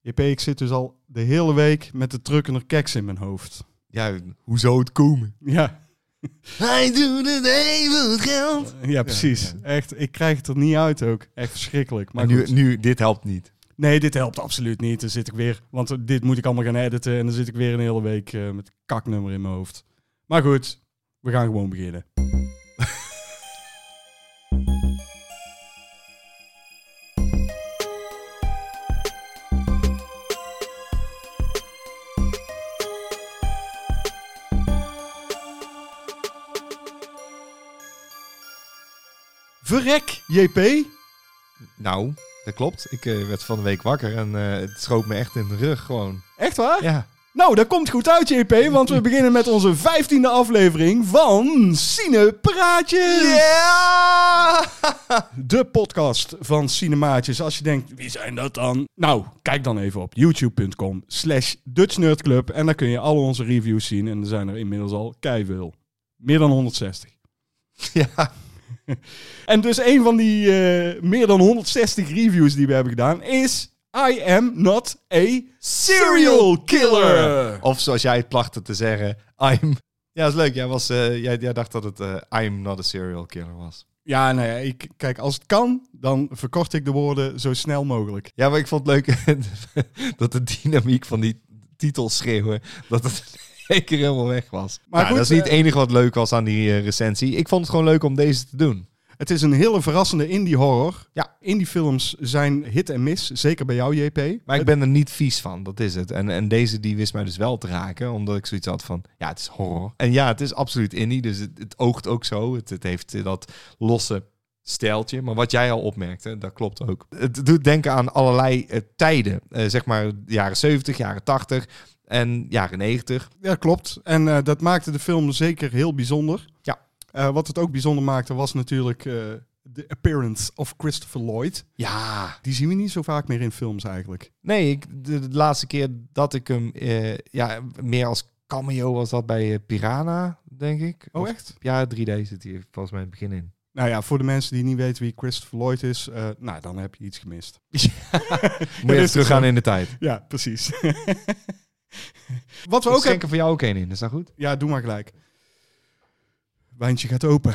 JP, ik zit dus al de hele week met de truck en de keks in mijn hoofd. Ja, hoe zou het komen? Ja, Hij doet het even het geld. ja precies. Echt, ik krijg het er niet uit ook. Echt verschrikkelijk. Maar Maar nu, goed. nu, dit helpt niet. Nee, dit helpt absoluut niet. Dan zit ik weer, want dit moet ik allemaal gaan editen en dan zit ik weer een hele week eh, met kaknummer in mijn hoofd. Maar goed, we gaan gewoon beginnen. Verrek, JP. Nou, dat klopt. Ik eh, werd van de week wakker en eh, het schoot me echt in de rug gewoon. Echt waar? Ja. Nou, dat komt goed uit, JP, want we beginnen met onze vijftiende aflevering van Cinepraatjes. Ja! De podcast van Cinemaatjes. Als je denkt, wie zijn dat dan? Nou, kijk dan even op youtube.com slash Dutch Nerd Club en daar kun je al onze reviews zien. En er zijn er inmiddels al keiveel. Meer dan 160. Ja. En dus een van die eh, meer dan 160 reviews die we hebben gedaan is... I am not a serial killer. Of zoals jij het plachtte te zeggen, I'm... Ja, dat is leuk. Jij, was, eh, jij, jij dacht dat het eh, I'm not a serial killer was. Ja, nou ja, ik, kijk, als het kan, dan verkort ik de woorden zo snel mogelijk. Ja, maar ik vond het leuk dat de dynamiek van die titel schreeuwen, dat het in één keer helemaal weg was. Maar Maar goed, dat is niet het eh, enige wat leuk was aan die eh, recensie. Ik vond het gewoon leuk om deze te doen. Het is een hele verrassende indie horror. Ja. Indie films zijn hit en miss, zeker bij jou, JP. Maar ik ben er niet vies van, dat is het. En, en deze die wist mij dus wel te raken, omdat ik zoiets had van, ja, het is horror. En ja, het is absoluut indie, dus het, het oogt ook zo. Het, het heeft eh, dat losse stijltje. Maar wat jij al opmerkte, dat klopt ook. Het doet denken aan allerlei eh, tijden. Eh, zeg maar jaren 70, jaren 80 en jaren 90. Ja, klopt. En eh, dat maakte de film zeker heel bijzonder. Ja. Eh, wat het ook bijzonder maakte was natuurlijk eh, de appearance of Christopher Lloyd. Ja, Die zien we niet zo vaak meer in films eigenlijk. Nee, ik, de, de laatste keer dat ik hem eh, ja, meer als cameo was dat bij eh, Piranha, denk ik. Of- echt? Ja, 3D zit hier volgens mij in het begin in. Nou ja, voor de mensen die niet weten wie Christopher Lloyd is, eh, nou dan heb je iets gemist. Moet je is even het teruggaan in de tijd. Ja, precies. wat we Ik ook schenk hebben... er voor jou ook één in, is dat goed? Ja, doe maar gelijk. Wijntje gaat open.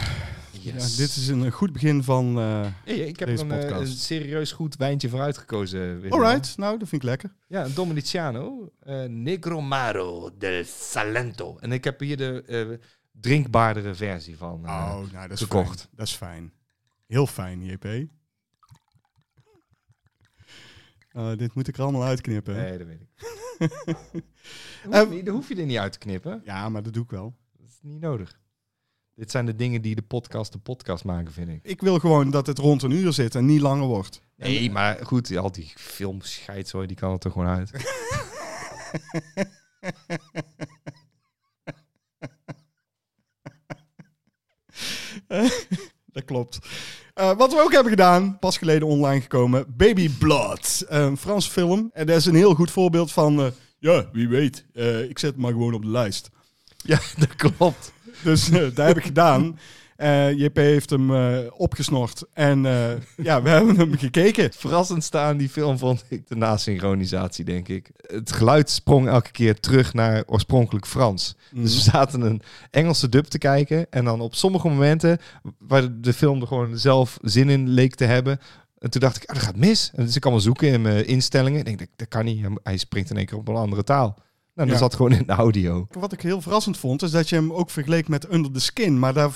Ja, dit is een goed begin van... eh ik heb Deze er een, eh, podcast. een serieus goed wijntje voor uitgekozen. Willem. Alright, nou dat vind ik lekker. Ja, een Dominiciano. eh, Negromaro del Salento. En ik heb hier de eh, drinkbaardere versie van. eh, nou, dat is gekocht. fijn. Dat is fijn. Heel fijn, JP. Eh, dit moet ik er allemaal uitknippen. hè? Nee, dat weet ik. dat, hoef je, niet- dat hoef je er niet uit te knippen. Ja, maar dat doe ik wel. Dat is niet nodig. Dit zijn de dingen die de podcast de podcast maken, vind ik. Ik wil gewoon dat het rond een uur zit en niet langer wordt. Nee, maar goed, al die filmscheidzooi, die kan er toch gewoon uit. Dat klopt. Eh, wat we ook hebben gedaan, pas geleden online gekomen, Baby Blood. Een Frans film. En dat is een heel goed voorbeeld van, eh, ja, wie weet, eh, ik zet het maar gewoon op de lijst. Ja, dat klopt. Dus eh dat heb ik gedaan. Eh, JP heeft hem eh, opgesnort. En eh, ja, we hebben hem gekeken. Verrassend staan die film vond ik de nasynchronisatie, denk ik. Het geluid sprong elke keer terug naar oorspronkelijk Frans. Dus we zaten een Engelse dub te kijken. En dan op sommige momenten, waar de film er gewoon zelf zin in leek te hebben. En toen dacht ik, ah, dat gaat mis. En dus ik kan wel zoeken in mijn instellingen. Ik denk, dat, dat kan niet. Hij springt in één keer op een andere taal. Nou, dat Ja. zat gewoon in de audio. Wat ik heel verrassend vond, is dat je hem ook vergeleek met Under the Skin. Maar daar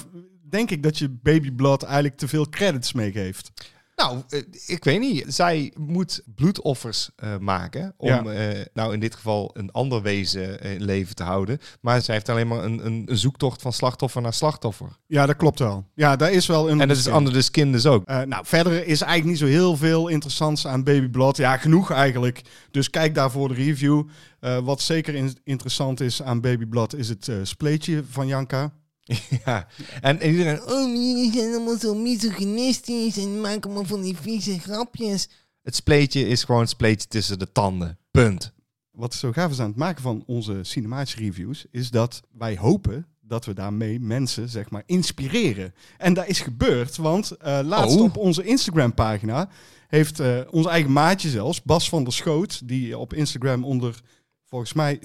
denk ik dat je Baby Blood eigenlijk te veel credits mee geeft. Nou, eh, ik weet niet. Zij moet bloedoffers eh, maken om, Ja. eh, nou in dit geval, een ander wezen eh, in leven te houden. Maar zij heeft alleen maar een, een, een zoektocht van slachtoffer naar slachtoffer. Ja, dat klopt wel. Ja, daar is wel een. En dat is Under the Skin dus ook. Eh, nou, verder is eigenlijk niet zo heel veel interessants aan Baby Blood. Ja, genoeg eigenlijk. Dus kijk daarvoor de review. Eh, wat zeker in- interessant is aan Baby Blood is het eh, spleetje van Janka. Ja. En, en iedereen, Oh, jullie zijn allemaal zo misogynistisch en maken allemaal van die vieze grapjes. het spleetje is gewoon het spleetje tussen de tanden. Punt. Wat zo gaaf is aan het maken van onze cinematische reviews, is dat wij hopen dat we daarmee mensen, zeg maar, inspireren. En dat is gebeurd, want eh, laatst Oh. op onze Instagram-pagina heeft eh ons eigen maatje zelfs, Bas van der Schoot, die op Instagram onder volgens mij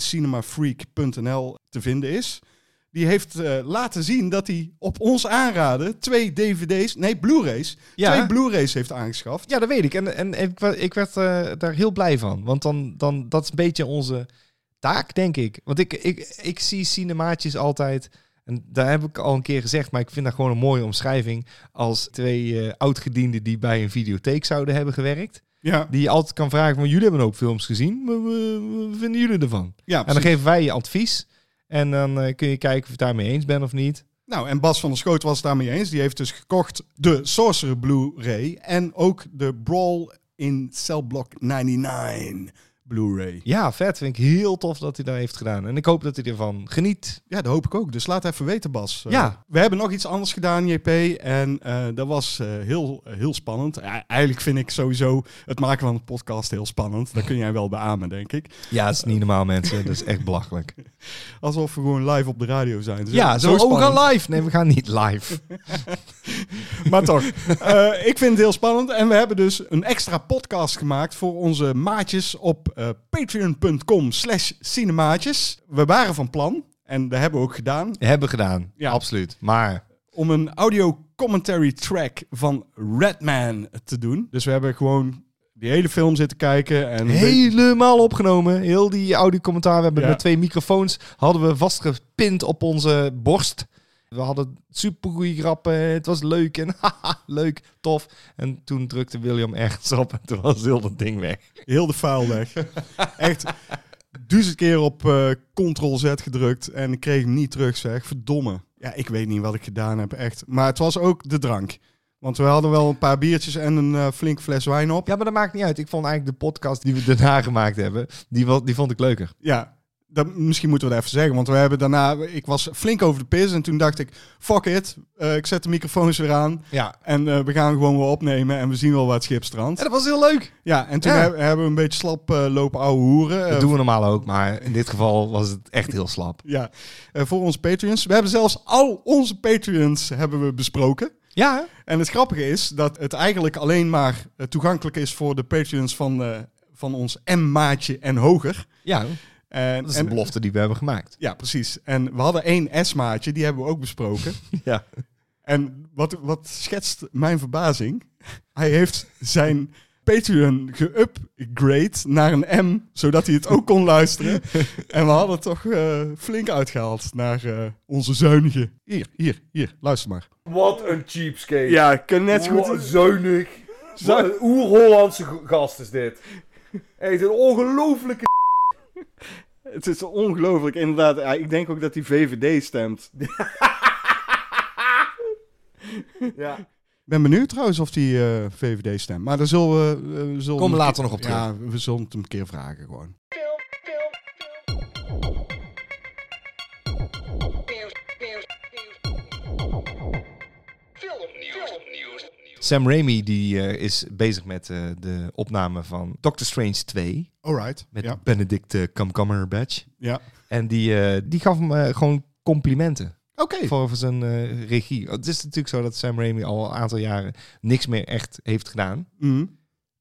cinemafreak.nl te vinden is. Die heeft eh, laten zien dat hij op ons aanraden twee DVD's, nee Blu-rays, Ja. twee Blu-rays heeft aangeschaft. Ja, dat weet ik. En, en ik, wa- ik werd eh, daar heel blij van. Want dan, dan, dat is een beetje onze taak, denk ik. Want ik, ik, ik zie cinemaatjes altijd... En daar heb ik al een keer gezegd, maar ik vind dat gewoon een mooie omschrijving... als twee eh oudgedienden die bij een videotheek zouden hebben gewerkt. Ja, Die je altijd kan vragen, van jullie hebben ook films gezien. Wat wat- wat vinden jullie ervan? ja En dan geven wij je advies. En dan eh, kun je kijken of je het daarmee eens bent of niet. Nou, en Bas van der Schoot was het daarmee eens. Die heeft dus gekocht de Sorcerer Blu-ray en ook de Brawl in Cell Block 99 Blu-ray. Ja, vet. Vind ik heel tof dat hij dat heeft gedaan. En ik hoop dat hij ervan geniet. Ja, dat hoop ik ook. Dus laat even weten, Bas. Eh, Ja. We hebben nog iets anders gedaan, JP. En eh, dat was eh, heel, heel spannend. Ja, eigenlijk vind ik sowieso het maken van een podcast heel spannend. Dat kun jij wel beamen, denk ik. Ja, dat is niet normaal, mensen. Dat is echt belachelijk. Alsof we gewoon live op de radio zijn. Dus Ja, zo, oh, we spannend. gaan live. Nee, we gaan niet live. Maar toch, eh, ik vind het heel spannend. En we hebben dus een extra podcast gemaakt voor onze maatjes op eh, patreon.com slash cinemaatjes. We waren van plan, en dat hebben we ook gedaan, Hebben gedaan. Ja. absoluut. Maar om een audio commentary track van Redman te doen. Dus we hebben gewoon die hele film zitten kijken. En helemaal opgenomen. Heel die audio-commentaar. We hebben Ja. met twee microfoons hadden we vastgepind op onze borst. We hadden supergoeie grappen. Het was leuk en haha, leuk, tof. En toen drukte William ergens op en toen was heel dat ding weg. Heel de file weg. Echt duizend keer op eh, ctrl-z gedrukt en ik kreeg hem niet terug, zeg. Verdomme. Ja, ik weet niet wat ik gedaan heb, echt. Maar het was ook de drank. Want we hadden wel een paar biertjes en een eh, flink fles wijn op. Ja, Ja, maar dat maakt niet uit. Ik vond eigenlijk de podcast die we daarna gemaakt hebben, die, wa- die vond ik leuker. dat, misschien moeten we dat even zeggen. Want we hebben daarna... Ik was flink over de pis en toen dacht ik... Fuck it, eh, ik zet de microfoons weer aan. Ja. En eh, we gaan gewoon weer opnemen en we zien wel wat En schipstrand. dat was heel leuk. Ja, en toen Ja. he- hebben we een beetje slap eh, lopen ouwe hoeren. Dat Eh, doen we normaal ook, maar in dit geval was het echt heel slap. Ja, eh, voor onze Patreons. We hebben zelfs al onze Patreons hebben we besproken. Ja, En het grappige is dat het eigenlijk alleen maar eh, toegankelijk is voor de Patreons van, eh, van ons M-maatje en hoger. ja. En, Dat is en- een belofte die we hebben gemaakt. Ja, precies. En we hadden één S-maatje, die hebben we ook besproken. Ja. en wat, wat schetst mijn verbazing? Hij heeft zijn Patreon geupgrade naar een M, zodat hij het ook kon luisteren. en we hadden het toch eh, flink uitgehaald naar eh, onze zuinige. Hier, hier, hier, luister maar. Wat een cheapskate. Ja, ik kan net Wat goed. zuinig. Wat een oer-Hollandse g- gast is dit. Echt een ongelooflijke... Het is ongelooflijk, inderdaad. Ja, ik denk ook dat hij VVD stemt. Ik Ja. ben benieuwd trouwens of hij eh, VVD stemt. Maar daar zullen we. eh, we zullen Kom hem- later nog op terug. Ja, we zullen het hem een keer vragen gewoon. Sam Raimi die, eh, is bezig met eh, de opname van Doctor Strange 2. Alright. Met Ja. Benedict eh, Cumberbatch. ja. En die, eh, die gaf hem eh, gewoon complimenten Oké. voor, voor zijn eh, regie. Het is natuurlijk zo dat Sam Raimi al een aantal jaren niks meer echt heeft gedaan. Mhm.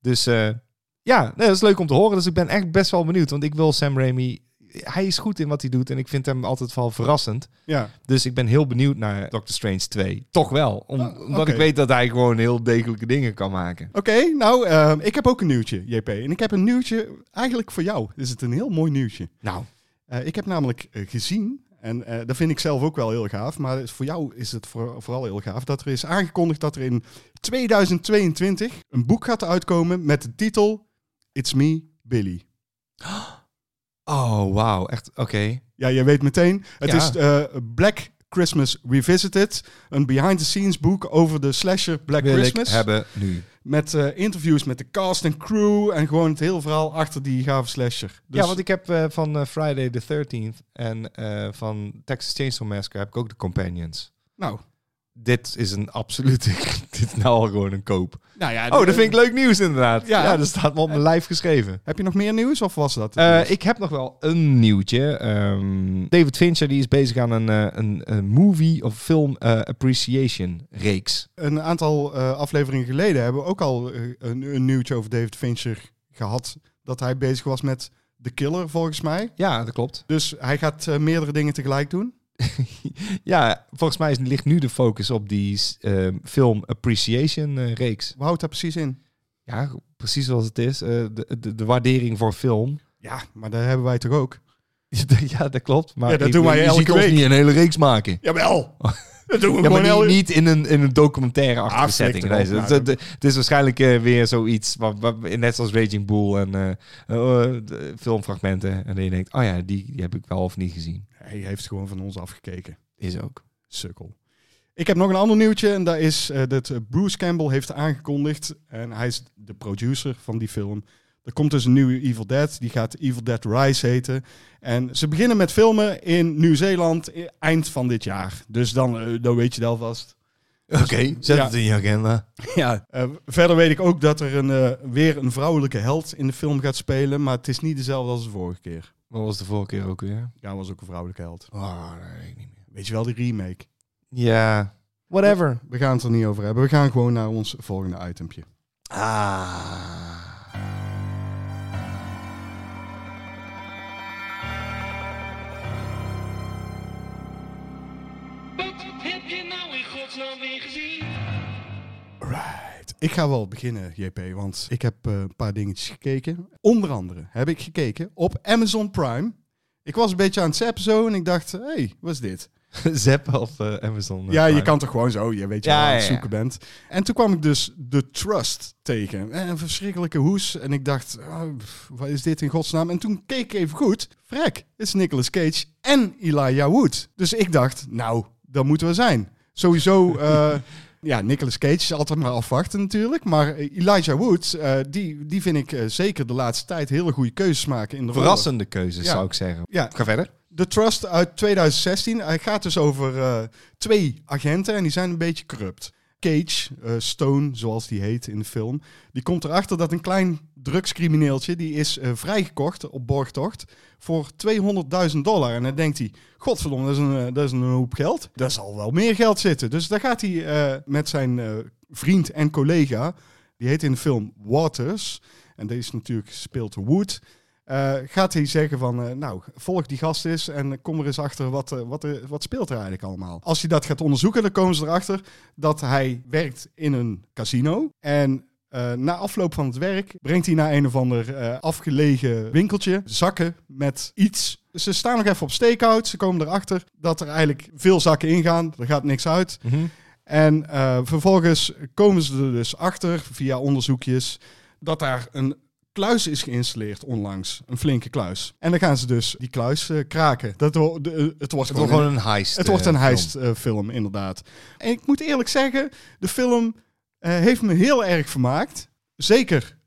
Dus eh, ja, nee, dat is leuk om te horen. Dus ik ben echt best wel benieuwd. Want ik wil Sam Raimi... Hij is goed in wat hij doet en ik vind hem altijd wel verrassend. Ja. Dus ik ben heel benieuwd naar Doctor Strange 2. Toch wel. Om, Ah, Omdat oké. ik weet dat hij gewoon heel degelijke dingen kan maken. Oké, nou, eh, ik heb ook een nieuwtje, JP. En ik heb een nieuwtje eigenlijk voor jou. Is het een heel mooi nieuwtje? Nou, Eh, ik heb namelijk eh, gezien, en eh, dat vind ik zelf ook wel heel gaaf, maar het- voor jou is het voor- vooral heel gaaf, dat er is aangekondigd dat er in 2022 een boek gaat uitkomen met de titel It's Me, Billy. Oh, wauw. Echt, oké. Ja, je weet meteen. Het Ja. is eh, Black Christmas Revisited, een behind-the-scenes boek over de slasher Black Wil Christmas. ik hebben nu. Met eh, interviews met de cast en crew en gewoon het hele verhaal achter die gave slasher. Dus, Ja, want ik heb eh, van eh, Friday the 13th en eh, van Texas Chainsaw Massacre heb ik ook de Companions. Nou, dit is een absolute... dit is nou al gewoon een koop. Nou ja, Oh, dat vind ik leuk nieuws inderdaad. Ja. Ja, dat staat me op mijn lijf geschreven. Heb je nog meer nieuws of was dat? het Eh, nieuws? ik heb nog wel een nieuwtje. Ehm, David Fincher die is bezig aan een, eh, een, een movie of film eh, appreciation reeks. een aantal eh, afleveringen geleden hebben we ook al eh, een, een nieuwtje over David Fincher gehad. Dat hij bezig was met The Killer, volgens mij. Ja, dat klopt. Dus hij gaat eh, meerdere dingen tegelijk doen. Ja, volgens mij is- ligt nu de focus op die ehm, film appreciation eh, reeks. Hoe houdt dat precies in? Ja, precies zoals het is. eh, de, de, de waardering voor film. Ja, maar dat hebben wij toch ook? ja, dat klopt. Maar Ja, dat ik doen wij bedoel, je elke ziet ons week. niet een hele reeks maken. Jawel! Dat doen we Ja, gewoon maar heel... niet, niet in een, in een documentaire achtige Ah, flik setting. erop. Nee, het- Nou, het- het is waarschijnlijk eh, weer zoiets, wat, wat- net zoals Raging Bull en eh, eh, eh, de filmfragmenten. En dan je denkt, oh ja, die, die heb ik wel of niet gezien. Hij heeft gewoon van ons afgekeken. Is ook. Sukkel. Ik heb nog een ander nieuwtje en dat is eh, dat eh, Bruce Campbell heeft aangekondigd en hij is de producer van die film. Er komt dus een nieuwe Evil Dead, die gaat Evil Dead Rise heten. En ze beginnen met filmen in Nieuw-Zeeland eh, eind van dit jaar. Dus dan, eh, dan weet je dat alvast. Dus, Oké, zet ja. het in je agenda. Ja. verder weet ik ook dat er een, eh, weer een vrouwelijke held in de film gaat spelen, maar het is niet dezelfde als de vorige keer. Wat was de vorige keer ook weer? Ja, was ook een vrouwelijke held. Oh, dat weet ik niet meer. Ah, Weet je wel, die remake. Ja, whatever. We gaan het er niet over hebben. We gaan gewoon naar ons volgende itempje. Ah. Wat heb je nou in godsnaam weer gezien? Right. Ik ga wel beginnen, JP, want ik heb eh, een paar dingetjes gekeken. Onder andere heb ik gekeken op Amazon Prime. Ik was een beetje aan het zappen zo en ik dacht, hé, hey, wat is dit? Zep of eh, Amazon. eh, ja, je Prime. kan toch gewoon zo, je weet je Ja, waar je aan het ja, ja. zoeken bent. En toen kwam ik dus The Trust tegen. Eh, Een verschrikkelijke hoes. En ik dacht, ah, pff, wat is dit in godsnaam? En toen keek ik even goed. Vrek, het is Nicolas Cage en Elijah Wood. Dus ik dacht, nou, dat moeten we zijn. Sowieso, eh, ja, Nicolas Cage is altijd maar afwachten natuurlijk. Maar eh, Elijah Wood, eh, die, die vind ik eh, zeker de laatste tijd hele goede keuzes maken in de rollen. Verrassende keuzes, Ja. zou ik zeggen. Ja, Ga verder. de Trust uit 2016. Hij gaat dus over eh, twee agenten en die zijn een beetje corrupt. Cage, eh, Stone, zoals die heet in de film, die komt erachter dat een klein drugscrimineeltje, die is eh, vrijgekocht op borgtocht voor 200.000 dollar. En dan denkt hij, godverdomme, dat is, een, eh, dat is een hoop geld. Daar zal wel meer geld zitten. Dus daar gaat hij eh, met zijn eh, vriend en collega, die heet in de film Waters, en deze is natuurlijk gespeeld door Wood, eh, gaat hij zeggen van, eh, nou, volg die gast eens en kom er eens achter wat, eh, wat, er- wat speelt er eigenlijk allemaal. Als hij dat gaat onderzoeken, dan komen ze erachter dat hij werkt in een casino. En eh, na afloop van het werk brengt hij naar een of ander eh, afgelegen winkeltje zakken met iets. Ze staan nog even op stakeout. Ze komen erachter dat er eigenlijk veel zakken ingaan. Er gaat niks uit. En eh, vervolgens komen ze er dus achter via onderzoekjes dat daar een kluis is geïnstalleerd onlangs. Een flinke kluis. En dan gaan ze dus die kluis eh, kraken. Dat, wo- de- eh, het wordt gewoon Het wordt een gewoon een heist. het wordt een eh, film. heistfilm, film inderdaad. En ik moet eerlijk zeggen, de film eh, heeft me heel erg vermaakt. Zeker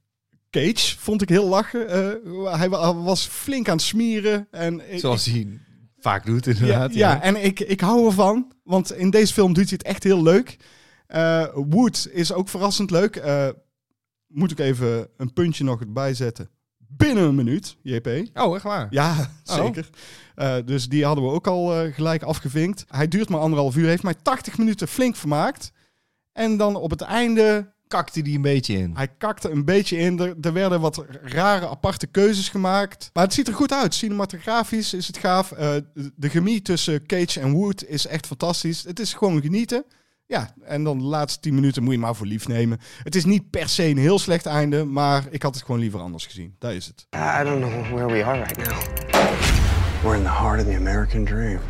Cage vond ik heel lachen. Eh, hij wa- was flink aan het smieren. En ik- Zoals hij vaak doet, ja, inderdaad. ja, en ik, ik hou ervan. Want in deze film doet hij het echt heel leuk. Eh, Wood is ook verrassend leuk. Eh, moet ik even een puntje nog erbij zetten. Binnen een minuut, JP. Oh, echt waar? Ja, Oh. zeker. Eh, dus die hadden we ook al eh, gelijk afgevinkt. Hij duurt maar anderhalf uur, heeft mij 80 minuten flink vermaakt. En dan op het einde, Kakte die een beetje in. hij kakte een beetje in. Er, er werden wat rare, aparte keuzes gemaakt. Maar het ziet er goed uit. Cinematografisch is het gaaf. Eh, de chemie tussen Cage en Wood is echt fantastisch. Het is gewoon genieten. Ja, en dan de laatste 10 minuten moet je maar voor lief nemen. Het is niet per se een heel slecht einde, maar ik had het gewoon liever anders gezien. Daar is het. I don't know where we are right now. We're in the heart of the American dream.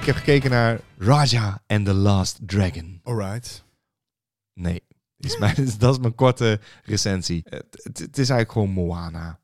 Ik heb gekeken naar Raja and the Last Dragon. Alright. Nee, is mijn, dat is mijn korte recensie. Het, het, het is eigenlijk gewoon Moana.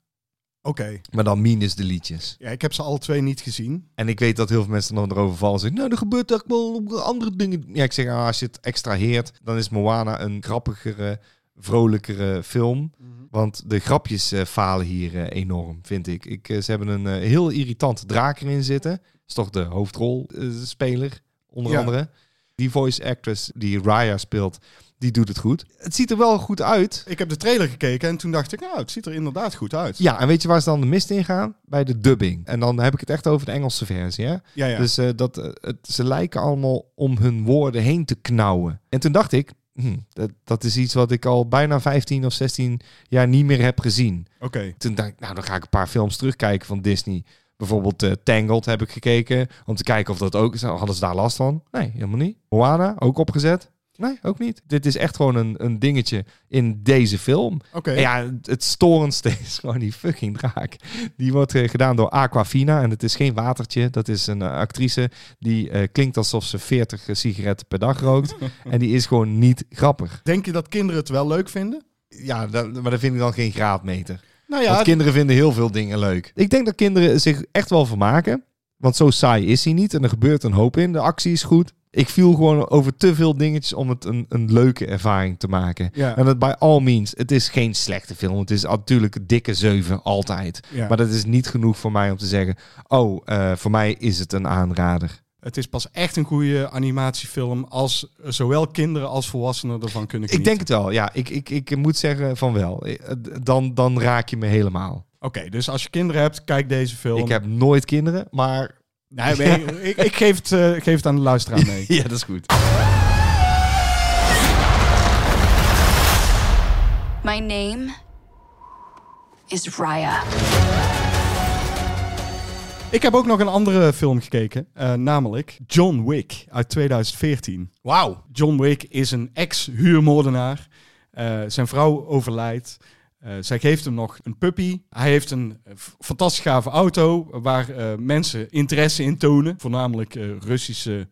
Oké. Maar dan minus de liedjes. Ja, ik heb ze alle twee niet gezien. En ik weet dat heel veel mensen dan erover vallen. Zeggen, nou, er gebeurt echt wel andere dingen. Ja, ik zeg, ah, als je het extraheert, dan is Moana een grappigere, vrolijkere film. Want de grapjes eh, falen hier eh, enorm, vind ik. ik eh, ze hebben een eh, heel irritante draak erin zitten. is toch de hoofdrolspeler, eh, onder Ja. andere. Die voice actress die Raya speelt, die doet het goed. Het ziet er wel goed uit. Ik heb de trailer gekeken en toen dacht ik, nou, het ziet er inderdaad goed uit. Ja, en weet je waar ze dan de mist in gaan? Bij de dubbing. En dan heb ik het echt over de Engelse versie. Hè? Ja, ja. Dus eh, dat, eh, het, ze lijken allemaal om hun woorden heen te knauwen. En toen dacht ik, hm, dat, dat is iets wat ik al bijna 15 of 16 jaar niet meer heb gezien. Oké. Toen dacht ik, nou dan ga ik een paar films terugkijken van Disney. Bijvoorbeeld eh, Tangled heb ik gekeken. Om te kijken of dat ook is. Hadden ze daar last van? Nee, helemaal niet. Moana, ook opgezet? Nee, ook niet. Dit is echt gewoon een, een dingetje in deze film. Oké. En Ja, het- het storendste is gewoon die fucking draak. Die wordt eh, gedaan door Aquafina. En het is geen watertje. Dat is een eh, actrice die eh, klinkt alsof ze 40 sigaretten per dag rookt. en die is gewoon niet grappig. Denk je dat kinderen het wel leuk vinden? Ja, dat- maar dat vind ik dan geen graadmeter. Nou Want ja, kinderen vinden heel veel dingen leuk. Ik denk dat kinderen zich echt wel vermaken. Want zo saai is hij niet. En er gebeurt een hoop in. De actie is goed. Ik viel gewoon over te veel dingetjes om het een, een leuke ervaring te maken. Ja. En dat bij all means, het is geen slechte film. Het is natuurlijk een dikke 7 altijd. Ja. Maar dat is niet genoeg voor mij om te zeggen... oh, eh, voor mij is het een aanrader. het is pas echt een goede animatiefilm als eh, zowel kinderen als volwassenen ervan kunnen Ik genieten. denk het wel, ja. Ik, ik, ik moet zeggen van wel. Eh, Dan, dan raak je me helemaal. Oké, dus als je kinderen hebt, kijk deze film. Ik heb nooit kinderen, maar... Nee, maar ik, ik, ik geef, het, eh, ik geef het aan de luisteraar mee. Ja, dat is goed. My name is Raya. Ik heb ook nog een andere film gekeken, eh, namelijk John Wick uit 2014. Wauw. John Wick is een ex-huurmoordenaar. Eh, zijn vrouw overlijdt. Eh, zij geeft hem nog een puppy. Hij heeft een eh, f- fantastisch gave auto waar eh, mensen interesse in tonen. Voornamelijk eh, Russische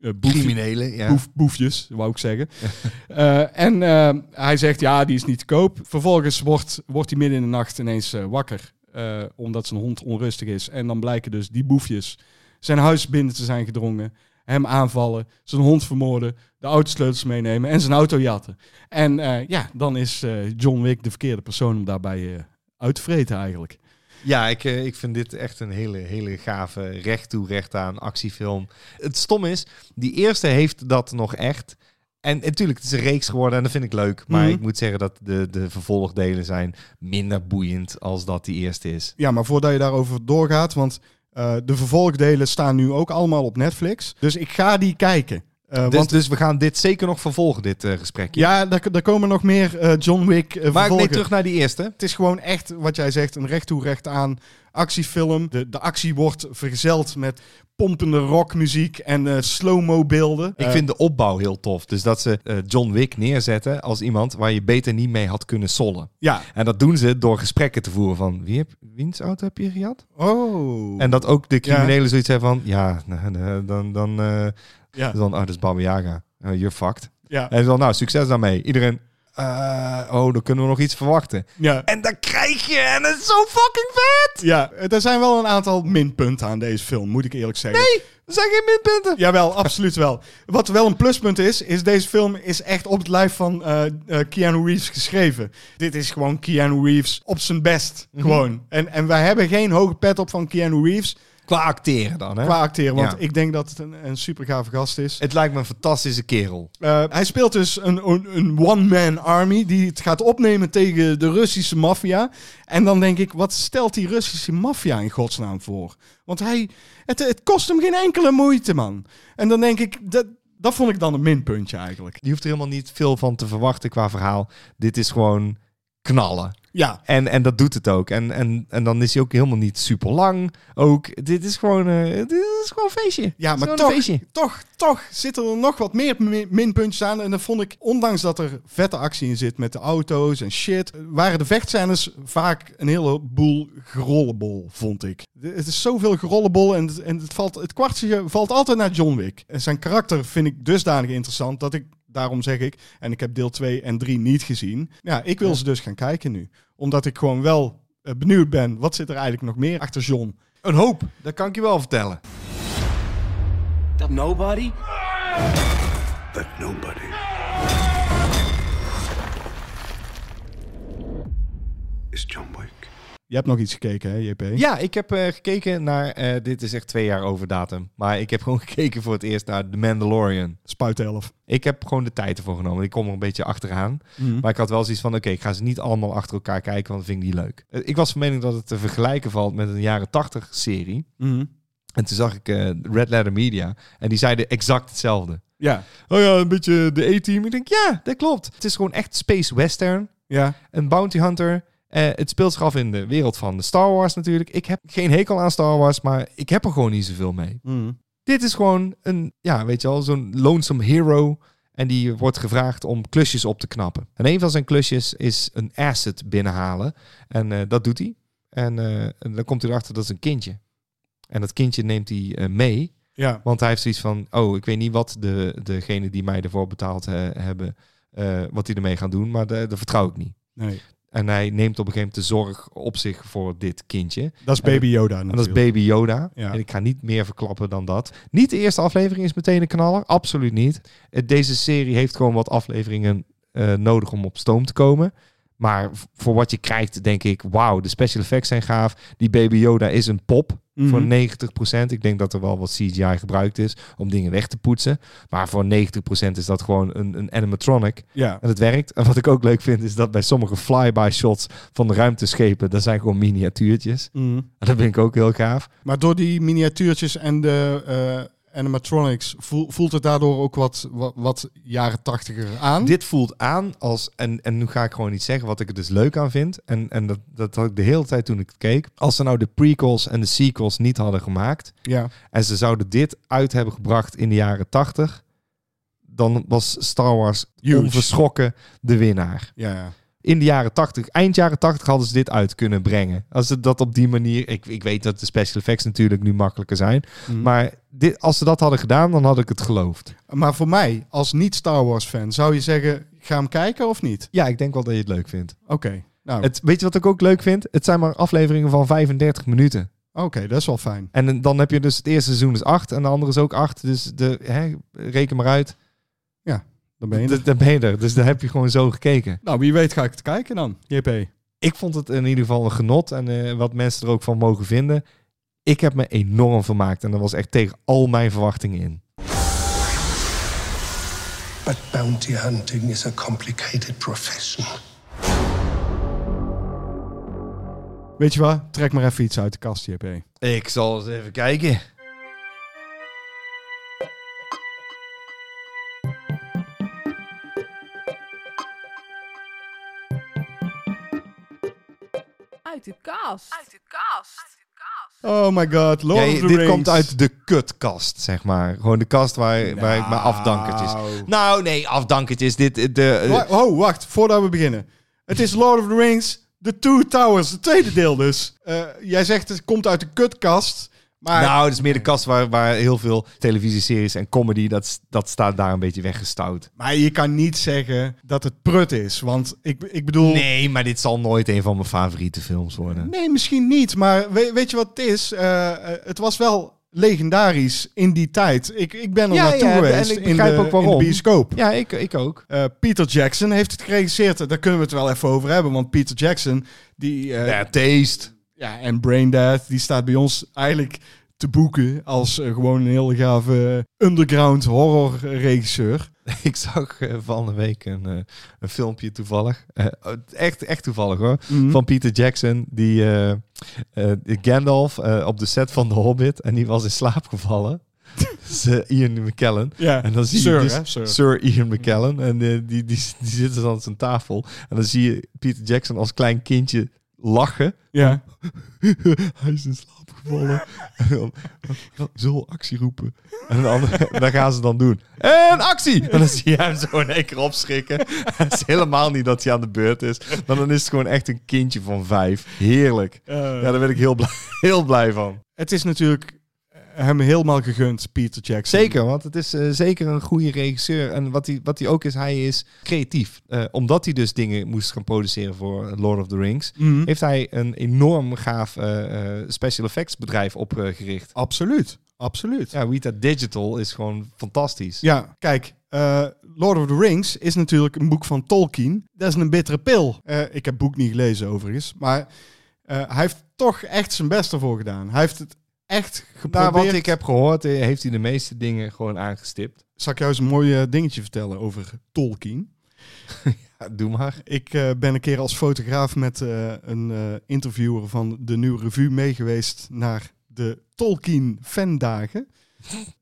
eh boefjes, Criminelen, ja. boef, boefjes, wou ik zeggen. Eh, en eh, hij zegt, ja, die is niet te koop. Vervolgens wordt, wordt hij midden in de nacht ineens eh, wakker. eh, omdat zijn hond onrustig is. En dan blijken dus die boefjes zijn huis binnen te zijn gedrongen. Hem aanvallen, zijn hond vermoorden, de autosleutels meenemen en zijn auto jatten. En eh, ja, dan is eh, John Wick de verkeerde persoon om daarbij eh, uit te vreten eigenlijk. Ja, ik, eh, ik vind dit echt een hele, hele gave recht toe recht aan actiefilm. Het stom is, die eerste heeft dat nog echt. En natuurlijk, het is een reeks geworden en dat vind ik leuk. Maar Mhm. ik moet zeggen dat de, de vervolgdelen zijn minder boeiend als dat die eerste is. Ja, maar voordat je daarover doorgaat, want eh, de vervolgdelen staan nu ook allemaal op Netflix. Dus ik ga die kijken. Eh, Dus, want dus we gaan dit zeker nog vervolgen, dit eh, gesprekje. ja, daar, daar komen nog meer eh, John Wick eh maar ik vervolgen. neem terug naar die eerste. Het is gewoon echt, wat jij zegt, een recht toe recht aan actiefilm. De, de actie wordt vergezeld met pompende rockmuziek en eh, slow-mo beelden. ik Eh, vind de opbouw heel tof. Dus dat ze eh, John Wick neerzetten als iemand waar je beter niet mee had kunnen sollen. Ja. En dat doen ze door gesprekken te voeren van... Wie heb, wiens auto heb je gejat? Oh. En dat ook de criminelen zoiets hebben van... Ja, nou, nou, dan... dan eh ja. dan, oh, dat is Baba Yaga. Eh, you're fucked. Ja. En dan, nou, succes daarmee. Iedereen... eh, oh, dan kunnen we nog iets verwachten. Ja. En dan krijg je... En dat is zo fucking vet! ja, er zijn wel een aantal minpunten aan deze film, moet ik eerlijk zeggen. Nee. Er zijn geen minpunten. Jawel, absoluut wel. Wat wel een pluspunt is, is deze film is echt op het lijf van eh, eh, Keanu Reeves geschreven. Dit is gewoon Keanu Reeves op zijn best. Gewoon. En, en wij hebben geen hoge pet op van Keanu Reeves Qua acteren dan, hè? qua acteren. Want Ja. ik denk dat het een, een super gave gast is. Het lijkt me een fantastische kerel. Eh, hij speelt dus een, een, een one-man army die het gaat opnemen tegen de Russische maffia. En dan denk ik, wat stelt die Russische maffia in godsnaam voor? Want hij, het, het kost hem geen enkele moeite, man. En dan denk ik, dat, dat vond ik dan een minpuntje eigenlijk. Je hoeft er helemaal niet veel van te verwachten qua verhaal. Dit is gewoon knallen. Ja, En, en dat doet het ook. En, en, en dan is hij ook helemaal niet super lang. Ook, dit is gewoon, eh, dit is gewoon een feestje. ja Het is maar gewoon toch, een feestje. toch, toch zitten er nog wat meer mi- minpuntjes aan. En dan vond ik, ondanks dat er vette actie in zit met de auto's en shit, waren de vechtscènes vaak een heleboel gerollebol, vond ik. De- Het is zoveel gerollebol en, het- en het, valt, het kwartje valt altijd naar John Wick. En zijn karakter vind ik dusdanig interessant dat ik, daarom zeg ik, en ik heb deel 2 en 3 niet gezien. Ja, ik wil ze dus gaan kijken nu. Omdat ik gewoon wel eh, benieuwd ben, wat zit er eigenlijk nog meer achter John? Een hoop, dat kan ik je wel vertellen. That nobody But nobody. Is John Wick. Je hebt nog iets gekeken, hè, JP? Ja, ik heb eh, gekeken naar, eh, dit is echt twee jaar over datum, maar ik heb gewoon gekeken voor het eerst naar The Mandalorian. Spuit 11. Ik heb gewoon de tijd ervoor genomen. Ik kom er een beetje achteraan. Maar ik had wel zoiets van, oké, ik ga ze niet allemaal achter elkaar kijken, want dat vind ik niet leuk. Eh, Ik was van mening dat het te vergelijken valt met een jaren tachtig serie. Mhm. En toen zag ik eh, Red Letter Media en die zeiden exact hetzelfde. Ja. Oh ja, een beetje de A-team. Ik denk, ja, dat klopt. Het is gewoon echt space western. Ja. Een bounty hunter. Eh, het speelt zich af in de wereld van de Star Wars natuurlijk. Ik heb geen hekel aan Star Wars, maar ik heb er gewoon niet zoveel mee. Mhm. Dit is gewoon een, ja, weet je wel, zo'n lonesome hero. En die wordt gevraagd om klusjes op te knappen. En een van zijn klusjes is een asset binnenhalen. En eh, dat doet hij. En, eh, en dan komt hij erachter dat is een kindje. En dat kindje neemt hij eh, mee. Ja. Want hij heeft zoiets van, oh, ik weet niet wat de, degene die mij ervoor betaald eh, hebben, eh, wat die ermee gaan doen, maar de- dat vertrouw ik niet. Nee. En hij neemt op een gegeven moment de zorg op zich voor dit kindje. Dat is Baby Yoda En dat is natuurlijk. Baby Yoda. Ja. En ik ga niet meer verklappen dan dat. Niet de eerste aflevering is meteen een knaller. Absoluut niet. Eh, Deze serie heeft gewoon wat afleveringen eh, nodig om op stoom te komen. Maar v- voor wat je krijgt, denk ik, wauw, de special effects zijn gaaf. Die Baby Yoda is een pop Mhm. voor 90%. Ik denk dat er wel wat CGI gebruikt is om dingen weg te poetsen. Maar voor 90% is dat gewoon een, een animatronic. Ja. En het werkt. En wat ik ook leuk vind, is dat bij sommige flyby shots van de ruimteschepen, dat zijn gewoon miniatuurtjes. Mhm. En dat vind ik ook heel gaaf. Maar door die miniatuurtjes en de eh, animatronics voel- voelt het daardoor ook wat, wat, wat jaren tachtiger aan. Dit voelt aan als, en, en nu ga ik gewoon iets zeggen wat ik er dus leuk aan vind. En, en dat, dat had ik de hele tijd toen ik het keek. Als ze nou de prequels en de sequels niet hadden gemaakt. Ja. En ze zouden dit uit hebben gebracht in de jaren 80. Dan was Star Wars Huge. onverschrokken de winnaar. Ja, ja. In de jaren 80, eind jaren 80 hadden ze dit uit kunnen brengen. Als ze dat op die manier. Ik, ik weet dat de special effects natuurlijk nu makkelijker zijn. Maar dit, als ze dat hadden gedaan, dan had ik het geloofd. Maar voor mij, als niet-Star Wars-fan, zou je zeggen, ga hem kijken of niet? Ja, ik denk wel dat je het leuk vindt. Oké, nou, Oh. Het, weet je wat ik ook leuk vind? Het zijn maar afleveringen van 35 minuten. oké, dat is wel fijn. En dan heb je dus het eerste seizoen is 8 en de andere is ook 8. Dus de, hè, reken maar uit. Dan ben je er. Dan dan ben je er. Dus daar heb je gewoon zo gekeken. Nou, wie weet ga ik het kijken dan, JP. Ik vond het in ieder geval een genot. En eh, wat mensen er ook van mogen vinden. Ik heb me enorm vermaakt. En dat was echt tegen al mijn verwachtingen in. But bounty hunting is a complicated profession. Weet je wat? Trek maar even iets uit de kast, JP. Ik zal eens even kijken. Uit de kast. Oh my god, Lord Ja, of the dit Rings. komt uit de kutkast, zeg maar. Gewoon de kast waar, waar ik mijn afdankertjes... Nou, nee, afdankertjes. Dit, eh, de, eh, Wa- Oh, wacht, voordat we beginnen. Het is Lord of the Rings, The Two Towers, het tweede deel dus. Eh, jij zegt het komt uit de kutkast, maar... Nou, het is meer de kast waar, waar heel veel televisieseries en comedy, dat, dat staat daar een beetje weggestouwd. Maar je kan niet zeggen dat het prut is, want ik, ik bedoel... Nee, maar dit zal nooit een van mijn favoriete films worden. Nee, misschien niet. Maar we- weet je wat het is? Eh, eh, het was wel legendarisch in die tijd. Ik, ik ben er Ja, naartoe ja, en geweest ik in, begrijp de, ook waarom. in de bioscoop. Ja, ik, ik ook. Eh, Peter Jackson heeft het geregisseerd. Daar kunnen we het wel even over hebben. Want Peter Jackson die, eh, Ja, Taste. ja, en Braindead, die staat bij ons eigenlijk te boeken als eh, gewoon een heel gave eh, underground horror regisseur. Ik zag eh, van de week een, eh, een filmpje toevallig. Eh, echt, echt toevallig hoor. Mhm. Van Peter Jackson, die eh, eh, Gandalf eh, op de set van The Hobbit. En die was in slaap gevallen. Dat is, eh, Ian McKellen. Ja, En dan zie Sir, je dus hè, Sir. Sir. Ian McKellen. En eh, die, die, die zitten dan aan zijn tafel. En dan zie je Peter Jackson als klein kindje lachen. Ja. Hij is in slaap gevallen. en dan zo actie roepen. En dan, dan gaan ze dan doen. En actie! En dan zie je hem zo in één keer opschrikken. Het is helemaal niet dat hij aan de beurt is. Maar dan is het gewoon echt een kindje van vijf. Heerlijk. Eh. Ja, daar ben ik heel blij, heel blij van. Het is natuurlijk eh, hem helemaal gegund, Peter Jackson. Zeker, want het is eh, zeker een goede regisseur. En wat hij, wat hij ook is, hij is creatief. Eh, omdat hij dus dingen moest gaan produceren voor Lord of the Rings, Mhm. heeft hij een enorm gaaf eh, eh, special effects bedrijf opgericht. Absoluut, absoluut. Ja, Weta Digital is gewoon fantastisch. Ja, kijk, eh, Lord of the Rings is natuurlijk een boek van Tolkien. Dat is een bittere pil. Eh, ik heb het boek niet gelezen overigens, maar Eh, hij heeft toch echt zijn best ervoor gedaan. Hij heeft het echt Nou, geprobeerd. wat ik heb gehoord, eh, heeft hij de meeste dingen gewoon aangestipt. Zal ik jou eens een mooi eh, dingetje vertellen over Tolkien? Ja, doe maar. Ik eh, ben een keer als fotograaf met eh, een eh, interviewer van de Nieuwe Revue meegeweest naar de Tolkien fandagen.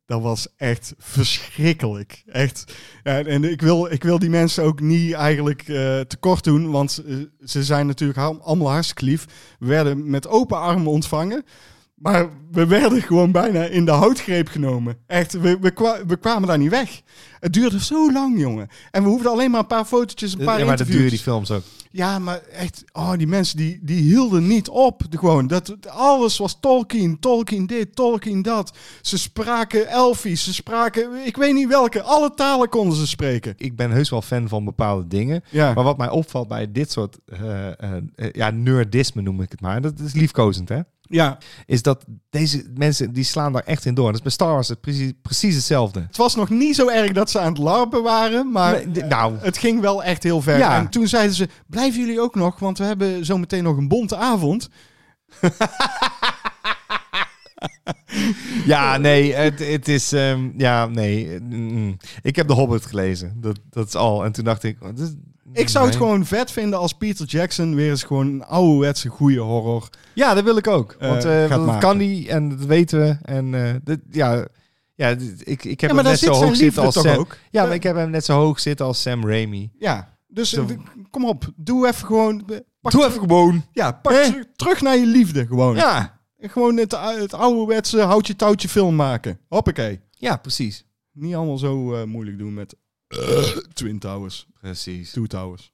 Dat was echt verschrikkelijk. Echt. En, en ik, wil, ik wil die mensen ook niet eigenlijk eh, tekort doen, want eh, ze zijn natuurlijk ha- allemaal hartstikke lief. We werden met open armen ontvangen. Maar we werden gewoon bijna in de houtgreep genomen. Echt, we, we, kwa- we kwamen daar niet weg. Het duurde zo lang, jongen. En we hoefden alleen maar een paar fotootjes, een paar Ja, maar dat interviews. duurde die films ook. Ja, maar echt, oh, die mensen die, die hielden niet op. De, gewoon, dat, alles was Tolkien, Tolkien dit, Tolkien dat. Ze spraken Elfisch, ze spraken, ik weet niet welke, alle talen konden ze spreken. Ik ben heus wel fan van bepaalde dingen. Ja. Maar wat mij opvalt bij dit soort eh, eh, eh, ja, nerdisme noem ik het maar. Dat is liefkozend, hè? Ja, Is dat deze mensen, die slaan daar echt in door. Dat is bij Star Wars het precies, precies hetzelfde. het was nog niet zo erg dat ze aan het larpen waren, maar Nee, d- nou. het ging wel echt heel ver. Ja. En toen zeiden ze, blijven jullie ook nog, want we hebben zo meteen nog een bonte avond. Ja, nee, het, het is... ehm, ja, nee. eh, mm. ik heb The Hobbit gelezen. Dat, dat is al. En toen dacht ik... wat is- Ik zou het Nee. gewoon vet vinden als Peter Jackson weer eens gewoon een ouderwetse goede horror... Ja, dat wil ik ook. Eh, Want eh, gaat dat maken. kan niet en dat weten we. En eh, dit, ja, ja dit- ik, ik heb Ja, maar hem daar net zit zo zijn hoog liefde zitten als toch Sam. ook? Ja, maar Ja. ik heb hem net zo hoog zitten als Sam Raimi. Ja, dus Zo. eh, kom op, doe even gewoon... eh, Pak Doe even gewoon. Ja, pak Hè? teru- terug naar je liefde gewoon. Ja, Gewoon het, ou- het ouderwetse houtje-touwtje film maken. Hoppakee. ja, precies. Niet allemaal zo eh, moeilijk doen met eh, Twin Towers, Precies. Two Towers.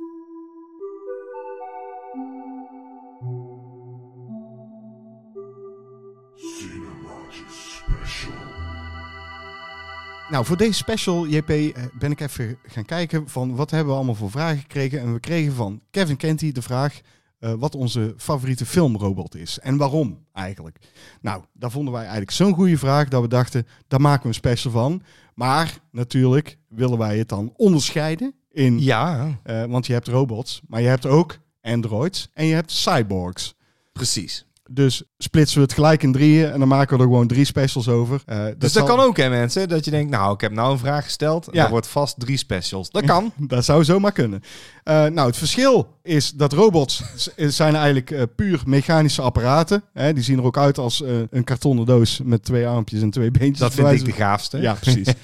Nou, voor deze special, JP, eh, ben ik even gaan kijken van wat hebben we allemaal voor vragen gekregen. En we kregen van Kevin Kenty de vraag eh, wat onze favoriete filmrobot is. En waarom eigenlijk. Nou, daar vonden wij eigenlijk zo'n goede vraag dat we dachten, daar maken we een special van. Maar natuurlijk willen wij het dan onderscheiden in Ja, eh, want je hebt robots, maar je hebt ook androids en je hebt cyborgs. precies. Dus splitsen we het gelijk in drieën en dan maken we er gewoon drie specials over. Eh, Dus dat, kan ook, hè, mensen? Dat je denkt, nou, ik heb nou een vraag gesteld. Ja. Er wordt vast drie specials. Dat kan. Dat zou zomaar kunnen. Eh, nou, het verschil is dat robots z- zijn eigenlijk eh, puur mechanische apparaten. Hè, die zien er ook uit als eh, een kartonnen doos met twee armpjes en twee beentjes. dat bij vind wijze ik de van- gaafste. Ja, precies.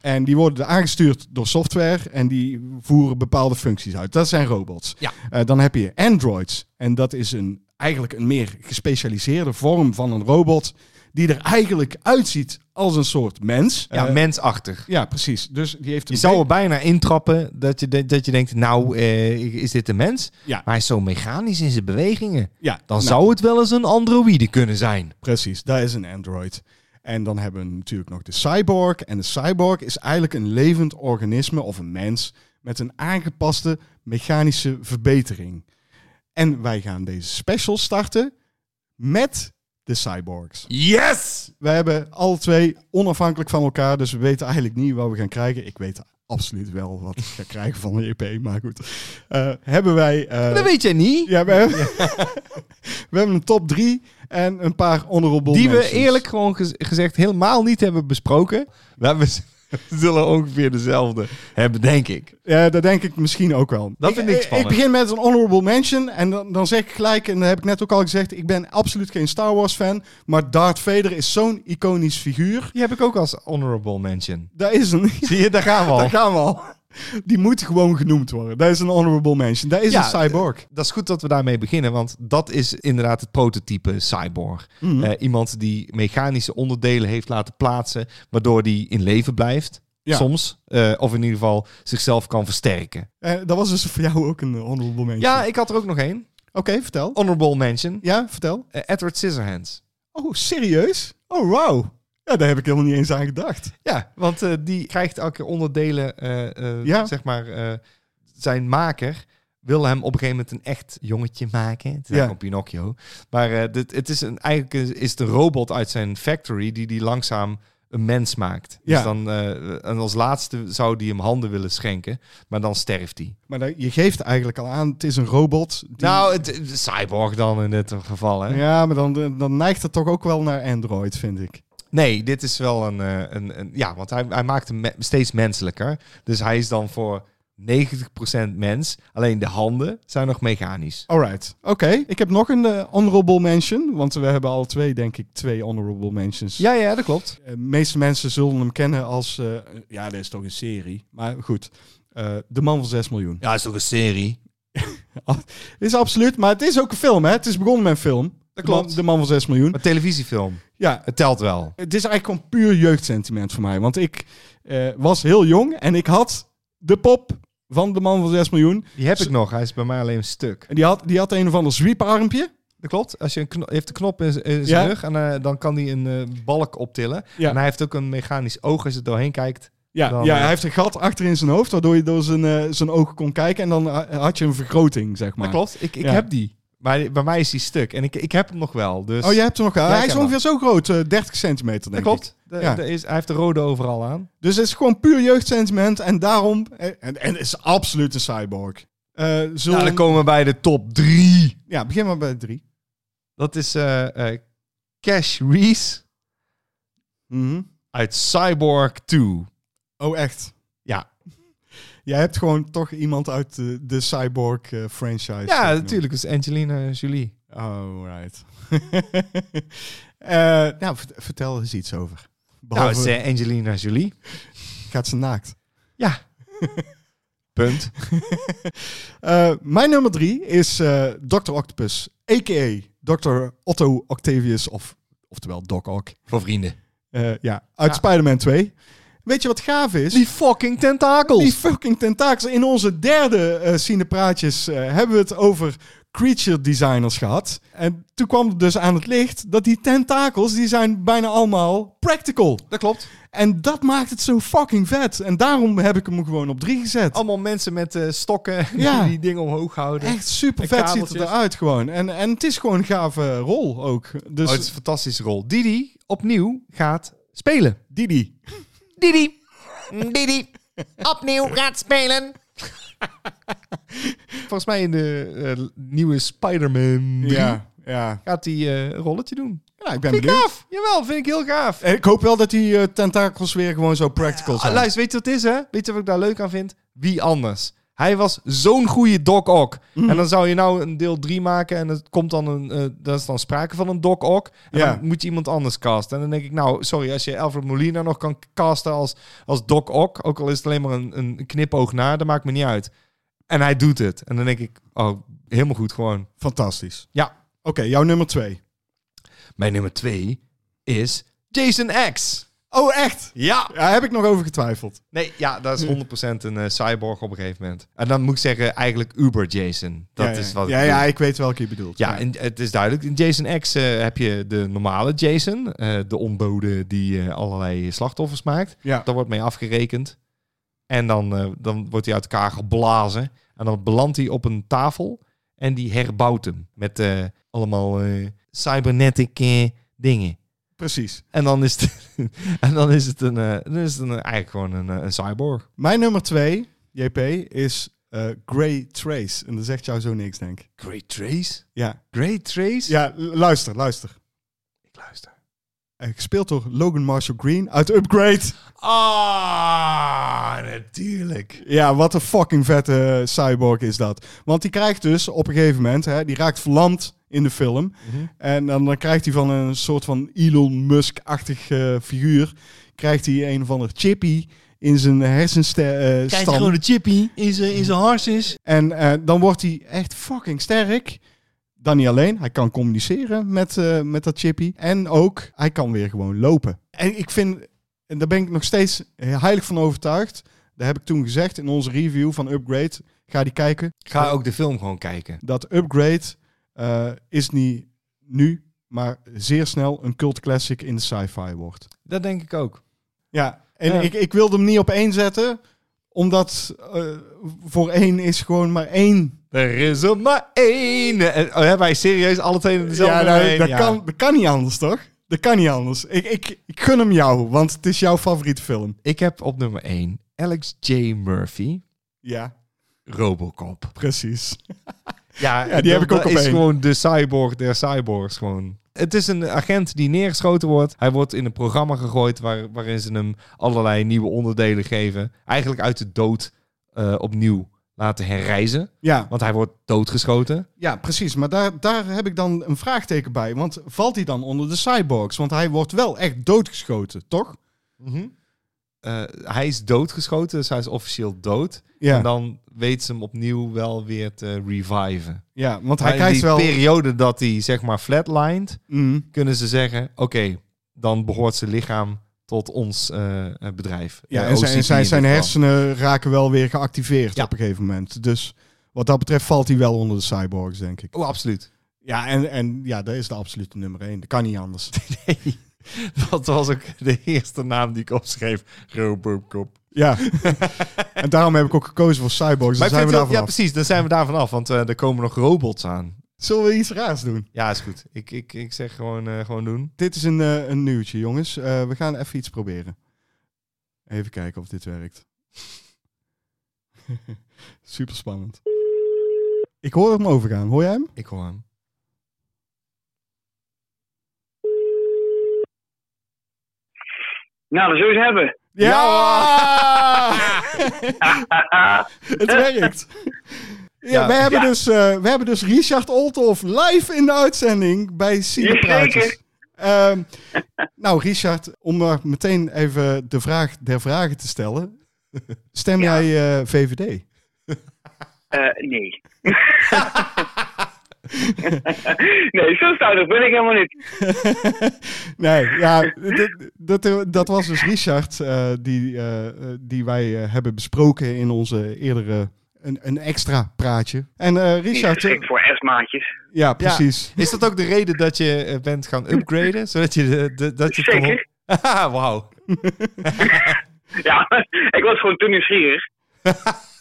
en die worden aangestuurd door software en die voeren bepaalde functies uit. Dat zijn robots. Ja. Eh, dan heb je androids. En dat is een, eigenlijk een meer gespecialiseerde vorm van een robot die er eigenlijk uitziet als een soort mens. Ja, Eh, mensachtig. ja precies. Dus die heeft Je een zou er be- bijna intrappen dat je, de- dat je denkt, nou, eh, is dit een mens? Ja. Maar hij is zo mechanisch in zijn bewegingen. ja, Dan nou, zou het wel eens een androïde kunnen zijn. Precies, dat is een android. En dan hebben we natuurlijk nog de cyborg. En de cyborg is eigenlijk een levend organisme of een mens met een aangepaste mechanische verbetering. En wij gaan deze special starten met de cyborgs. Yes! We hebben alle twee onafhankelijk van elkaar, dus we weten eigenlijk niet wat we gaan krijgen. Ik weet absoluut wel wat ik ga krijgen van de EP, maar goed. Eh, hebben wij... eh, Dat weet jij niet. ja, we hebben, we hebben een top 3 en een paar honorable Die we mentions. eerlijk gewoon gez- gezegd helemaal niet hebben besproken. Maar we z- zullen ongeveer dezelfde hebben, denk ik. Ja, dat denk ik misschien ook wel. Dat vind ik Ik spannend. begin met een honorable mention en dan, dan zeg ik gelijk, en dat heb ik net ook al gezegd, ik ben absoluut geen Star Wars fan, maar Darth Vader is zo'n iconisch figuur. Die heb ik ook als honorable mention. Daar is een... Zie je, daar gaan we al. Daar gaan we al. Die moet gewoon genoemd worden. Dat is een honorable mention. Dat is Ja, een cyborg. Dat is goed dat we daarmee beginnen, want dat is inderdaad het prototype cyborg. Eh, iemand die mechanische onderdelen heeft laten plaatsen, waardoor die in leven blijft. Ja. Soms. Eh, of in ieder geval zichzelf kan versterken. Eh, dat was dus voor jou ook een honorable mention. Ja, ik had er ook nog één. Oké, vertel. Honorable mention. Ja, vertel. Eh, Edward Scissorhands. Oh, serieus? Oh, wow. Ja, daar heb ik helemaal niet eens aan gedacht. Ja, want eh, die krijgt elke keer onderdelen, eh, eh, Ja. zeg maar, eh, zijn maker wil hem op een gegeven moment een echt jongetje maken. Het is Ja. ja. een Pinocchio. Maar eh, dit, het is een, eigenlijk is het een robot uit zijn factory die die langzaam een mens maakt. Ja. Dus dan, eh, en als laatste zou die hem handen willen schenken, maar dan sterft hij. Maar dan- je geeft eigenlijk al aan, het is een robot. die- Nou, het, het- cyborg dan in dit geval. Hè? Ja, maar dan, dan neigt het toch ook wel naar Android, vind ik. Nee, dit is wel een. eh, een, een ja, want hij, hij maakt hem me- steeds menselijker. Dus hij is dan voor 90% mens. Alleen de handen zijn nog mechanisch. Alright, oké. Ik heb nog een eh, honorable mention, want we hebben al twee, denk ik, twee honorable mentions. Ja, ja, dat klopt. Eh, De meeste mensen zullen hem kennen als, eh, ja, dit is toch een serie, maar goed. Eh, de man van 6 miljoen. Ja, is toch een serie? Is absoluut, maar het is ook een film, hè? Het is begonnen met een film. Dat De man, klopt. de man van 6 miljoen. Een televisiefilm. Ja, Het telt wel. het is eigenlijk gewoon puur jeugdsentiment voor mij. Want ik eh, was heel jong en ik had de pop van de man van 6 miljoen. Die heb ik nog. Hij is bij mij alleen een stuk. En die had, die had een of ander zwieparmpje. Dat klopt. Als je een kno- heeft de knop in z- in zijn Ja. rug en eh, dan kan hij een eh, balk optillen. Ja. En hij heeft ook een mechanisch oog als je er doorheen kijkt. Ja, Dan, ja eh, hij heeft een gat achter in zijn hoofd, waardoor je door zijn, eh, zijn ogen kon kijken. En dan ha- had je een vergroting, zeg maar. Dat klopt. Ik, ik Ja. heb die. Maar bij mij is die stuk. En ik, ik heb hem nog wel. Dus Oh, jij hebt hem nog. ik hij is heb ongeveer zo groot, eh, 30 centimeter, dat denk ik. klopt. De- Ja. de is, hij heeft de rode overal aan. Dus het is gewoon puur jeugdsentiment. En daarom. eh, En, en het is absoluut een cyborg. Eh zullen, Nou, dan komen we bij de top 3. ja, begin maar bij drie. Dat is eh, eh, Cash Reese Mhm. uit Cyborg 2. Oh, echt? Ja. Jij hebt gewoon toch iemand uit de, de cyborg eh, franchise. Ja, genoemd. natuurlijk. Dat is Angelina Jolie. Oh, right. Eh, nou, vert- vertel eens iets over. Nou, Behalve, het is eh, Angelina Jolie. gaat ze naakt. Ja. Punt. Eh, mijn nummer drie is eh Dr. Octopus, a.k.a. Dr. Otto Octavius, of, oftewel Doc Ock. Voor vrienden. Eh, ja, uit Spider-Man 2. Weet je wat gaaf is? Die fucking tentakels. Die fucking tentakels. In onze derde eh Cinepraatjes eh, hebben we het over creature designers gehad. En toen kwam het dus aan het licht dat die tentakels, die zijn bijna allemaal practical. dat klopt. En dat maakt het zo fucking vet. En daarom heb ik hem gewoon op drie gezet. Allemaal mensen met eh, stokken die Ja. die dingen omhoog houden. Echt super En vet ziet kabeltjes. het eruit gewoon. En, en het is gewoon een gave rol ook. Dus Oh, het is een fantastische rol. Die die opnieuw gaat spelen. Didi. Didi. Didi. Opnieuw gaat spelen. Volgens mij in de eh, nieuwe Spider-Man 3 Ja, ja. gaat hij eh, een rolletje doen. ja, ik ben Vind ik benieuwd. gaaf. Jawel, vind ik heel gaaf. En ik hoop wel dat die eh, tentakels weer gewoon zo practical Ah, zijn. luister, weet je wat het is, hè? Weet je wat ik daar leuk aan vind? Wie anders? Hij was zo'n goede Doc Ock. En dan zou je nou een deel 3 maken en het komt dan een, eh dat is dan sprake van een Doc Ock. En Ja. dan moet je iemand anders casten. En dan denk ik, nou, sorry, als je Alfred Molina nog kan casten als, als Doc Ock, ook al is het alleen maar een, een knipoog naar, dat maakt me niet uit. En hij doet het. En dan denk ik, oh, helemaal goed gewoon. Fantastisch. Ja. Oké, jouw nummer twee. Mijn nummer 2 is Jason X. Oh, echt? Ja. Daar heb ik nog over getwijfeld. Nee, ja, dat Hm. is 100% een eh, cyborg op een gegeven moment. En dan moet ik zeggen, eigenlijk Uber Jason. Dat ja, ja. is wat ja, ik ja, bedoel. ik weet welke je bedoelt. Ja, en eh, het is duidelijk. In Jason X eh, heb je de normale Jason. eh, de onbode die eh, allerlei slachtoffers maakt. Ja. Daar wordt mee afgerekend. En dan, eh, dan wordt hij uit elkaar geblazen. En dan belandt hij op een tafel. En die herbouwt hem. Met eh, allemaal eh, cybernetic eh, dingen. precies. En dan is het, en dan is het, een, eh, dan is het een, eigenlijk gewoon een, eh, een cyborg. Mijn nummer twee, JP, is eh Grey Trace. En dat zegt jou zo niks, denk ik. Great Trace? Ja, Great Trace? ja lu- luister, luister. Ik luister. Eh, Gespeeld door Logan Marshall Green uit Upgrade. Ah, natuurlijk. Ja, wat een fucking vette eh, cyborg is dat. Want die krijgt dus op een gegeven moment, hè, die raakt verlamd in de film. Mhm. En dan, dan krijgt hij van een soort van Elon Musk-achtig eh, figuur, krijgt hij een of ander chippy in zijn eh, hersenstam. chippy in zijn, in zijn harses. En eh, dan wordt hij echt fucking sterk. Dan niet alleen, hij kan communiceren met, eh, met dat chippy. En ook, hij kan weer gewoon lopen. En ik vind, en daar ben ik nog steeds heilig van overtuigd. Dat heb ik toen gezegd in onze review van Upgrade. Ga die kijken. Ga ook de film gewoon kijken. Dat Upgrade eh, is niet nu, maar zeer snel een cult classic in de sci-fi wordt. Dat denk ik ook. Ja, en Ja. Ik, ik wilde hem niet op één zetten. Omdat eh, voor één is gewoon maar één Er is er maar één. En- Oh, hebben wij serieus alle twee dezelfde ja, nou, één? dat, Ja. Kan, dat kan niet anders, toch? Dat kan niet anders. Ik, ik, ik gun hem jou, want het is jouw favoriete film. Ik heb op nummer 1 Alex J. Murphy, Ja, Robocop. precies. Ja, die heb ik ook dat op is één. gewoon de cyborg der cyborgs gewoon. Het is een agent die neergeschoten wordt. Hij wordt in een programma gegooid waar, waarin ze hem allerlei nieuwe onderdelen geven. Eigenlijk uit de dood eh, opnieuw laten herrijzen. Ja, Want hij wordt doodgeschoten. ja precies. Maar daar, daar heb ik dan een vraagteken bij. Want valt hij dan onder de cyborgs? Want hij wordt wel echt doodgeschoten, toch? Eh, hij is doodgeschoten, dus hij is officieel dood. Ja, En dan weet ze hem opnieuw wel weer te reviven. ja want Maar hij in krijgt die wel... periode dat hij zeg maar flatlined, Mm, kunnen ze zeggen: oké, dan behoort zijn lichaam tot ons eh, eh, bedrijf. ja, oh, Eh, en zijn, OCP in zijn, dit zijn geval. hersenen raken wel weer geactiveerd Ja. op een gegeven moment. Dus wat dat betreft valt hij wel onder de cyborgs, denk ik. Oh, absoluut. Ja, en, en ja, dat is de absolute nummer één. Dat kan niet anders. Dat was ook de eerste naam die ik opschreef: Robocop. Ja. en daarom heb ik ook gekozen voor cyborgs. Dan Maar ik zijn we vind wel- Dus daar ja, vanaf. precies, dan zijn we daar vanaf, want eh, er komen nog robots aan. Zullen we iets raars doen? Ja, is goed. Ik, ik, ik zeg gewoon, eh, gewoon doen. Dit is een, eh, een nieuwtje, jongens. Eh, we gaan even iets proberen. Even kijken of dit werkt. Super spannend. Ik hoor hem overgaan. Hoor jij hem? Ik hoor hem. Nou, dan zul je ze hebben. Ja! Het werkt. Ja, Ja. we, hebben dus, eh, we hebben dus Richard Olthoff live in de uitzending bij Cinepraatjes. Jazeker. Ehm nou, Richard, om maar meteen even de vraag der vragen te stellen. Stem Ja. jij eh, VVD? Eh, nee. nee, zo stoutig ben ik helemaal niet. nee, ja, dat, dat, dat was dus Richard eh, die, eh, eh, die wij eh, hebben besproken in onze eerdere... Een, een extra praatje. En eh, Niet Richard... geschikt voor S-maatjes. Ja, precies. Is dat ook de reden dat je eh, bent gaan upgraden? Zodat je... De, de- dat je het kon- Zeker. Haha, Wauw. Ja, ik was gewoon toen nieuwsgierig.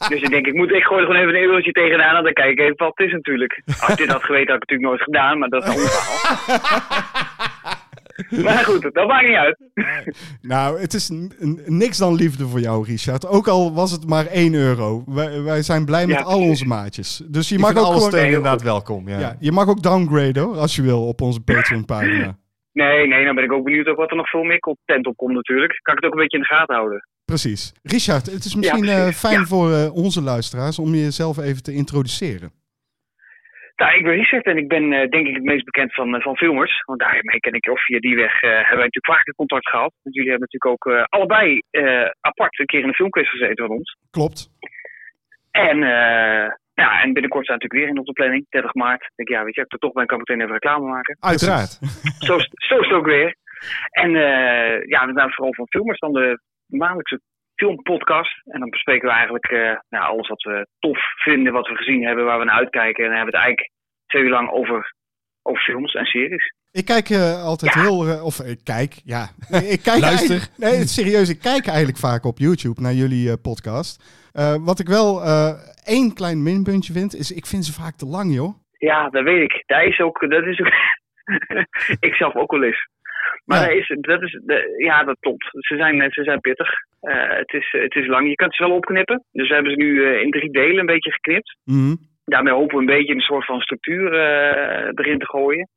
Dus ik denk, ik, moet, ik gooi er gewoon even een eeuwtje tegenaan en dan kijk ik even wat het is natuurlijk. Als ik dit had geweten, had ik het natuurlijk nooit gedaan, maar dat is een ander verhaal. Maar goed, dat maakt niet uit. Nou, het is n- n- niks dan liefde voor jou, Richard. Ook al was het maar 1 euro. Wij, wij zijn blij met Ja, al precies. onze maatjes. Dus je Je mag mag ook alles gewoon... steun inderdaad welkom. Ja. Ja, je mag ook downgraden hoor, als je wil, op onze Patreon-pagina. Nee, nee, dan ben ik ook benieuwd ook wat er nog veel meer content op komt natuurlijk. Kan ik het ook een beetje in de gaten houden. Precies. Richard, het is misschien precies. eh, fijn Ja. voor eh, onze luisteraars om jezelf even te introduceren. Nou, ik ben Richard en ik ben eh, denk ik het meest bekend van, eh, van filmers. Want daarmee ken ik, of via die weg, eh, hebben wij natuurlijk vaker contact gehad. Want jullie hebben natuurlijk ook eh, allebei eh, apart een keer in een filmquiz gezeten van ons. Klopt. En, eh, ja, en binnenkort staat natuurlijk weer in op de planning, 30 maart. Ik denk, ja, weet je, als ik er toch ben, kan ik meteen even reclame maken. Uiteraard. zo, is- zo is het ook weer. En eh ja, we zijn vooral van filmers dan de maandelijkse filmpodcast. En dan bespreken we eigenlijk eh, nou, alles wat we tof vinden, wat we gezien hebben, waar we naar uitkijken. En dan hebben we het eigenlijk twee uur lang over, over films en series. Ik kijk eh, altijd Ja. heel... eh, of ik kijk, ja. Nee, Ik kijk Luister. eigenlijk- Nee, het is serieus. Ik kijk eigenlijk vaak op YouTube naar jullie eh, podcast. Eh, wat ik wel eh, één klein minpuntje vind, is ik vind ze vaak te lang, joh. Ja, dat weet ik. Daar is ook, dat is ook, ik zelf ook wel eens. Maar Ja. daar is, dat is, de- ja, dat klopt. Ze zijn, ze zijn pittig. Eh, het, is, het is lang. Je kan ze wel opknippen. Dus we hebben ze nu eh, in drie delen een beetje geknipt. Mhm. Daarmee hopen we een beetje een soort van structuur eh, erin te gooien.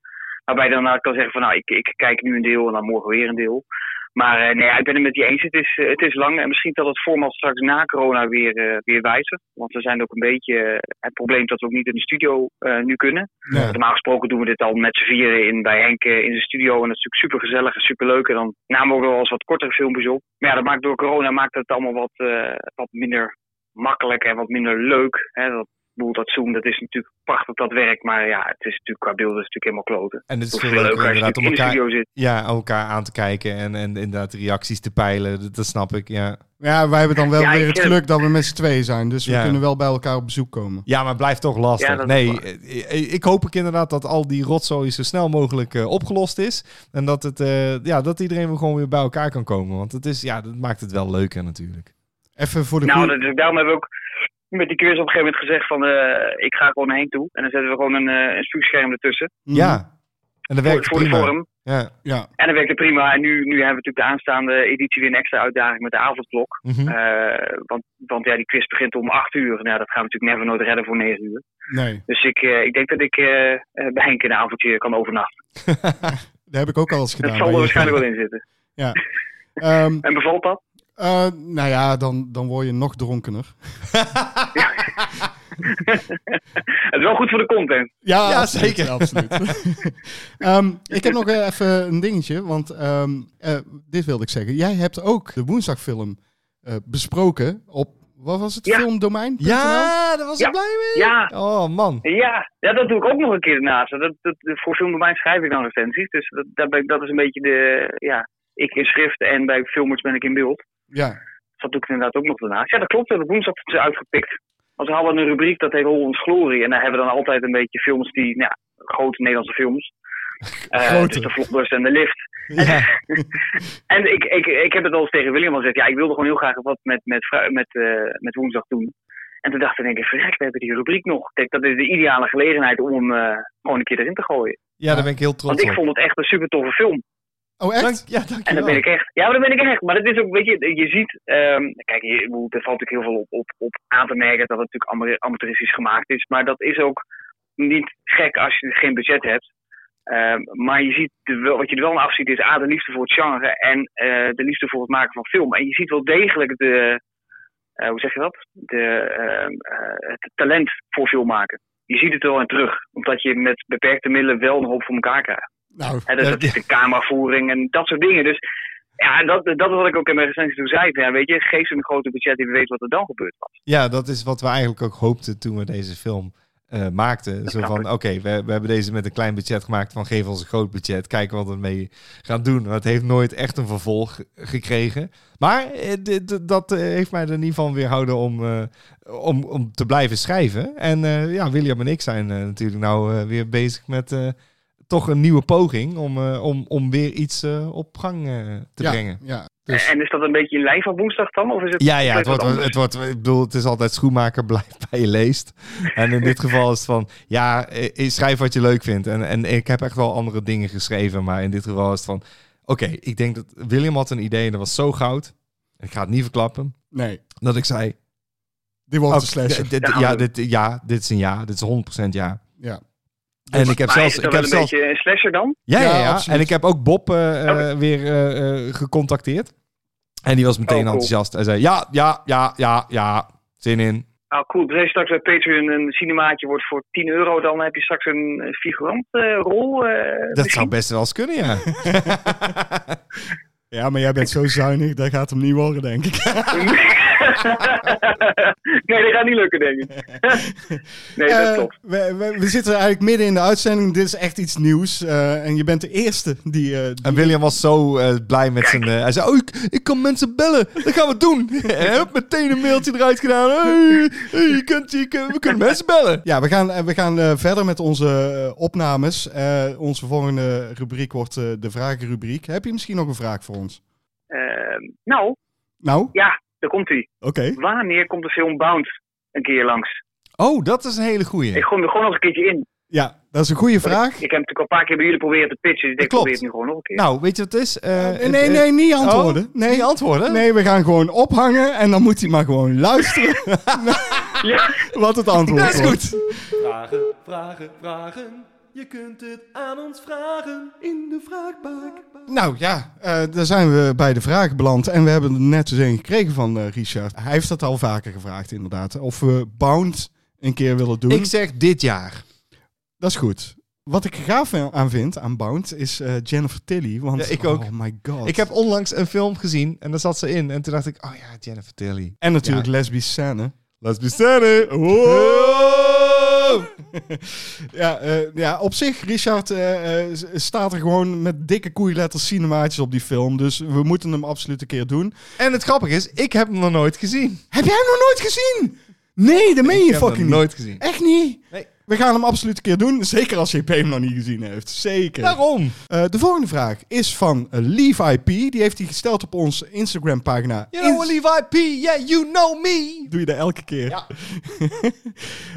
Waarbij je dan nou kan zeggen van nou, ik, ik kijk nu een deel en dan morgen weer een deel. Maar eh, nee, ja, ik ben het met je eens. Het is, eh, het is lang en misschien dat het format straks na corona weer, eh, weer wijzigt. Want we zijn ook een beetje eh, het probleem dat we ook niet in de studio eh, nu kunnen. Ja. Want Normaal gesproken doen we dit al met z'n vieren in, bij Henk eh, in de studio. En dat is natuurlijk super gezellig en super leuk. En dan namen we ook wel eens wat kortere filmpjes op. Maar ja, dat maakt door corona maakt het allemaal wat, eh, wat minder makkelijk en wat minder leuk. Hè? Dat, ik bedoel, dat Zoom, dat is natuurlijk prachtig dat werk. Maar ja, het is natuurlijk qua beelden is het natuurlijk helemaal kloten. En het is Het is veel leuker als je inderdaad om natuurlijk in de elkaar, studio zit. ja, elkaar aan te kijken en, en inderdaad de reacties te peilen. Dat, dat snap ik, ja. Ja, wij hebben dan wel Ja, weer ik het ken- geluk dat we met z'n tweeën zijn. Dus we Ja. kunnen wel bij elkaar op bezoek komen. Ja, maar het blijft toch lastig. Ja, dat is nee, waar. eh, ik hoop ik inderdaad dat al die rotzooi zo snel mogelijk eh, opgelost is. En dat, het, eh, ja, dat iedereen weer gewoon weer bij elkaar kan komen. Want het is, ja, dat maakt het wel leuker natuurlijk. Even voor de Nou, goede- dat is, daarom hebben we ook met die quiz op een gegeven moment gezegd van... eh, ik ga gewoon naar Henk toe. En dan zetten we gewoon een, eh een spuugscherm ertussen. Mhm. Ja, en dat Voor, werkt voor de prima. vorm. Ja. Ja. En dat werkte prima. En nu, nu hebben we natuurlijk de aanstaande editie weer een extra uitdaging met de avondklok. Mhm. Eh, want want ja, die quiz begint om 8 uur. Nou, dat gaan we natuurlijk never nooit redden voor 9 uer. Nee, Dus ik, eh, ik denk dat ik eh, eh, bij Henk in een avondje kan overnachten. dat heb ik ook al eens Dat gedaan. zal er bij waarschijnlijk wel Jutta. in zitten. Ja. Ehm, En bevalt dat? eh, nou ja, dan, dan word je nog dronkener. Het is wel goed voor de content. Ja, Ja, absoluut, zeker. Absoluut. Ehm, ik heb nog eh, even een dingetje, want ehm, eh, dit wilde ik zeggen. Jij hebt ook de woensdagfilm eh, besproken op, wat was het, Ja. filmdomein.nl? Ja, daar was ik Ja. blij mee. Ja, Oh man. Ja, ja, dat doe ik ook nog een keer ernaast. Dat, dat, voor filmdomein schrijf ik dan recensies. Dus dat, dat, ben ik- dat is een beetje de... Ja, ik in schrift en bij filmers ben ik in beeld. Ja, Dus Dat doe ik inderdaad ook nog daarnaast. Ja, dat klopt. Dat woensdag is ze uitgepikt. Want we hadden een rubriek, dat heet Hollands Glorie. En daar hebben we dan altijd een beetje films die... Nou, ja, grote Nederlandse films. Eh, Grote. dus de Vlodders en de Lift. Ja. En ik, ik, ik heb het al eens tegen William al gezegd. Ja, ik wilde gewoon heel graag wat met, met, vrou- met, eh, met woensdag doen. En toen dacht ik, denk ik, verrek, we hebben die rubriek nog. Kijk, dat is de ideale gelegenheid om hem eh, gewoon een keer erin te gooien. ja, daar ben ik heel trots Want ik op. vond het echt een super toffe film. Oh, echt? Dank, ja, En dat dankjewel. ben ik echt. Ja, maar dat ben ik echt. Maar dat is ook, weet je, je ziet... ehm, kijk, je, ik bedoel, er valt natuurlijk heel veel op, op, op aan te merken dat het natuurlijk ama- amateuristisch gemaakt is. Maar dat is ook niet gek als je geen budget hebt. Ehm, maar je ziet er wel, wat je er wel aan afziet is A, de liefde voor het genre en eh, de liefde voor het maken van film. En je ziet wel degelijk de... eh, hoe zeg je dat? De, ehm, eh, het talent voor film maken. Je ziet het er wel in terug. Omdat je met beperkte middelen wel een hoop voor elkaar krijgt. Nou, Hè, dus dat is de cameravoering en dat soort dingen. Dus ja, dat, dat is wat ik ook in mijn recensie toen zei. Van, Ja, weet je, geef ze een grote budget en we weten wat er dan gebeurd was. Ja, dat is wat we eigenlijk ook hoopten toen we deze film eh, maakten. Zo snap van, ik. oké, we, we hebben deze met een klein budget gemaakt. Van geef ons een groot budget, kijken wat we ermee gaan doen. Maar het heeft nooit echt een vervolg gekregen. Maar eh, dit- dit- dat eh, heeft mij er niet van weerhouden om, eh, om, om te blijven schrijven. En eh, ja, William en ik zijn eh, natuurlijk nou eh, weer bezig met... eh, toch een nieuwe poging om, eh, om, om weer iets eh, op gang eh, te ja, brengen. Ja, dus, En is dat een beetje in lijn van woensdag dan? Of is het Ja, ja, het wat wordt, het wordt, ik bedoel, het is altijd schoenmaker, blijf bij je leest. En in dit geval is het van, ja, eh, schrijf wat je leuk vindt. En, en ik heb echt wel andere dingen geschreven, maar in dit geval is het van, oké, ik denk dat William had een idee en dat was zo goud. Ik ga het niet verklappen. nee, Dat ik zei, die wordt oh, een slasher. dit- dit- ja, dit, ja, dit is een ja, dit is 100% ja. Ja. En ik heb maar zelfs, is het ik dan heb wel een zelfs, beetje een slasher dan? ja, Ja, ja, ja. absoluut. en ik heb ook Bob eh, eh, weer eh, eh, gecontacteerd. En die was meteen Oh, cool. enthousiast. Hij zei, ja, ja, ja, ja, ja, zin in. Nou, cool. Dus als je straks bij Patreon een cinemaatje wordt voor 10 euro, dan heb je straks een eh, figurant eh, rol. eh, Dat misschien. zou best wel eens kunnen, ja. Ja, maar jij bent zo zuinig, dat gaat hem niet worden, denk ik. nee, dat gaat niet lukken, denk ik. nee, dat Eh, klopt. we, we, we zitten eigenlijk midden in de uitzending. Dit is echt iets nieuws. eh, en je bent de eerste die... eh, die- En William was zo eh, blij met zijn... eh, hij zei, oh, ik, ik kan mensen bellen. Dat gaan we doen. en heb meteen een mailtje eruit gedaan. Hey, hey, je kunt, je kunt- we kunnen mensen bellen. Ja, we gaan, eh, we gaan eh, verder met onze eh, opnames. Eh, onze volgende rubriek wordt eh, de vragenrubriek. Heb je misschien nog een vraag voor ons? Eh, nou, Nou, oké. ja, daar komt hij. Wanneer komt de film Bound een keer langs? Oh, dat is een hele Ik goeie. gooi hem er gewoon nog een keertje in. Ja, dat is een goede vraag. Eh, Ik heb natuurlijk al een paar keer bij jullie proberen te pitchen. Dus ik denk, Klopt. probeer het nu gewoon nog een keer. Nou, weet je wat het is? Eh, Nee, nee, nee, niet antwoorden. Oh, nee, niet antwoorden? Nee, we gaan gewoon ophangen en dan moet hij maar gewoon luisteren Ja. wat het antwoord Dat is wordt. goed. Vragen, vragen, vragen. Je kunt het aan ons vragen in de vraagbak. Nou ja, eh, daar zijn we bij de vraag beland. En we hebben er net eens een gekregen van eh, Richard. Hij heeft dat al vaker gevraagd, inderdaad. Of we Bound een keer willen doen. Ik zeg dit jaar. Dat is goed. Wat ik er gaaf aan vind aan Bound is eh, Jennifer Tilly. Want, Ja, ik ook. Oh my god. Ik heb onlangs een film gezien en daar zat ze in. En toen dacht ik, oh ja, Jennifer Tilly. en natuurlijk lesbische scène. Let's be Oh. steady. Oh! ja, eh, ja, op zich, Richard, eh, eh, s- staat er gewoon met dikke koeienletters cinemaatjes op die film. Dus we moeten hem absoluut een keer doen. En het grappige is, ik heb hem nog nooit gezien. Heb jij hem nog nooit gezien? Nee, dat meen je ik heb fucking hem niet. nooit gezien. Echt niet? Nee. We gaan hem absoluut een keer doen. Zeker als JP hem nog niet gezien heeft. Zeker. Daarom. Eh, de volgende vraag is van eh, Levi P. Die heeft hij gesteld op onze Instagram pagina. You know Levi P, yeah, you know me. Doe je dat elke keer?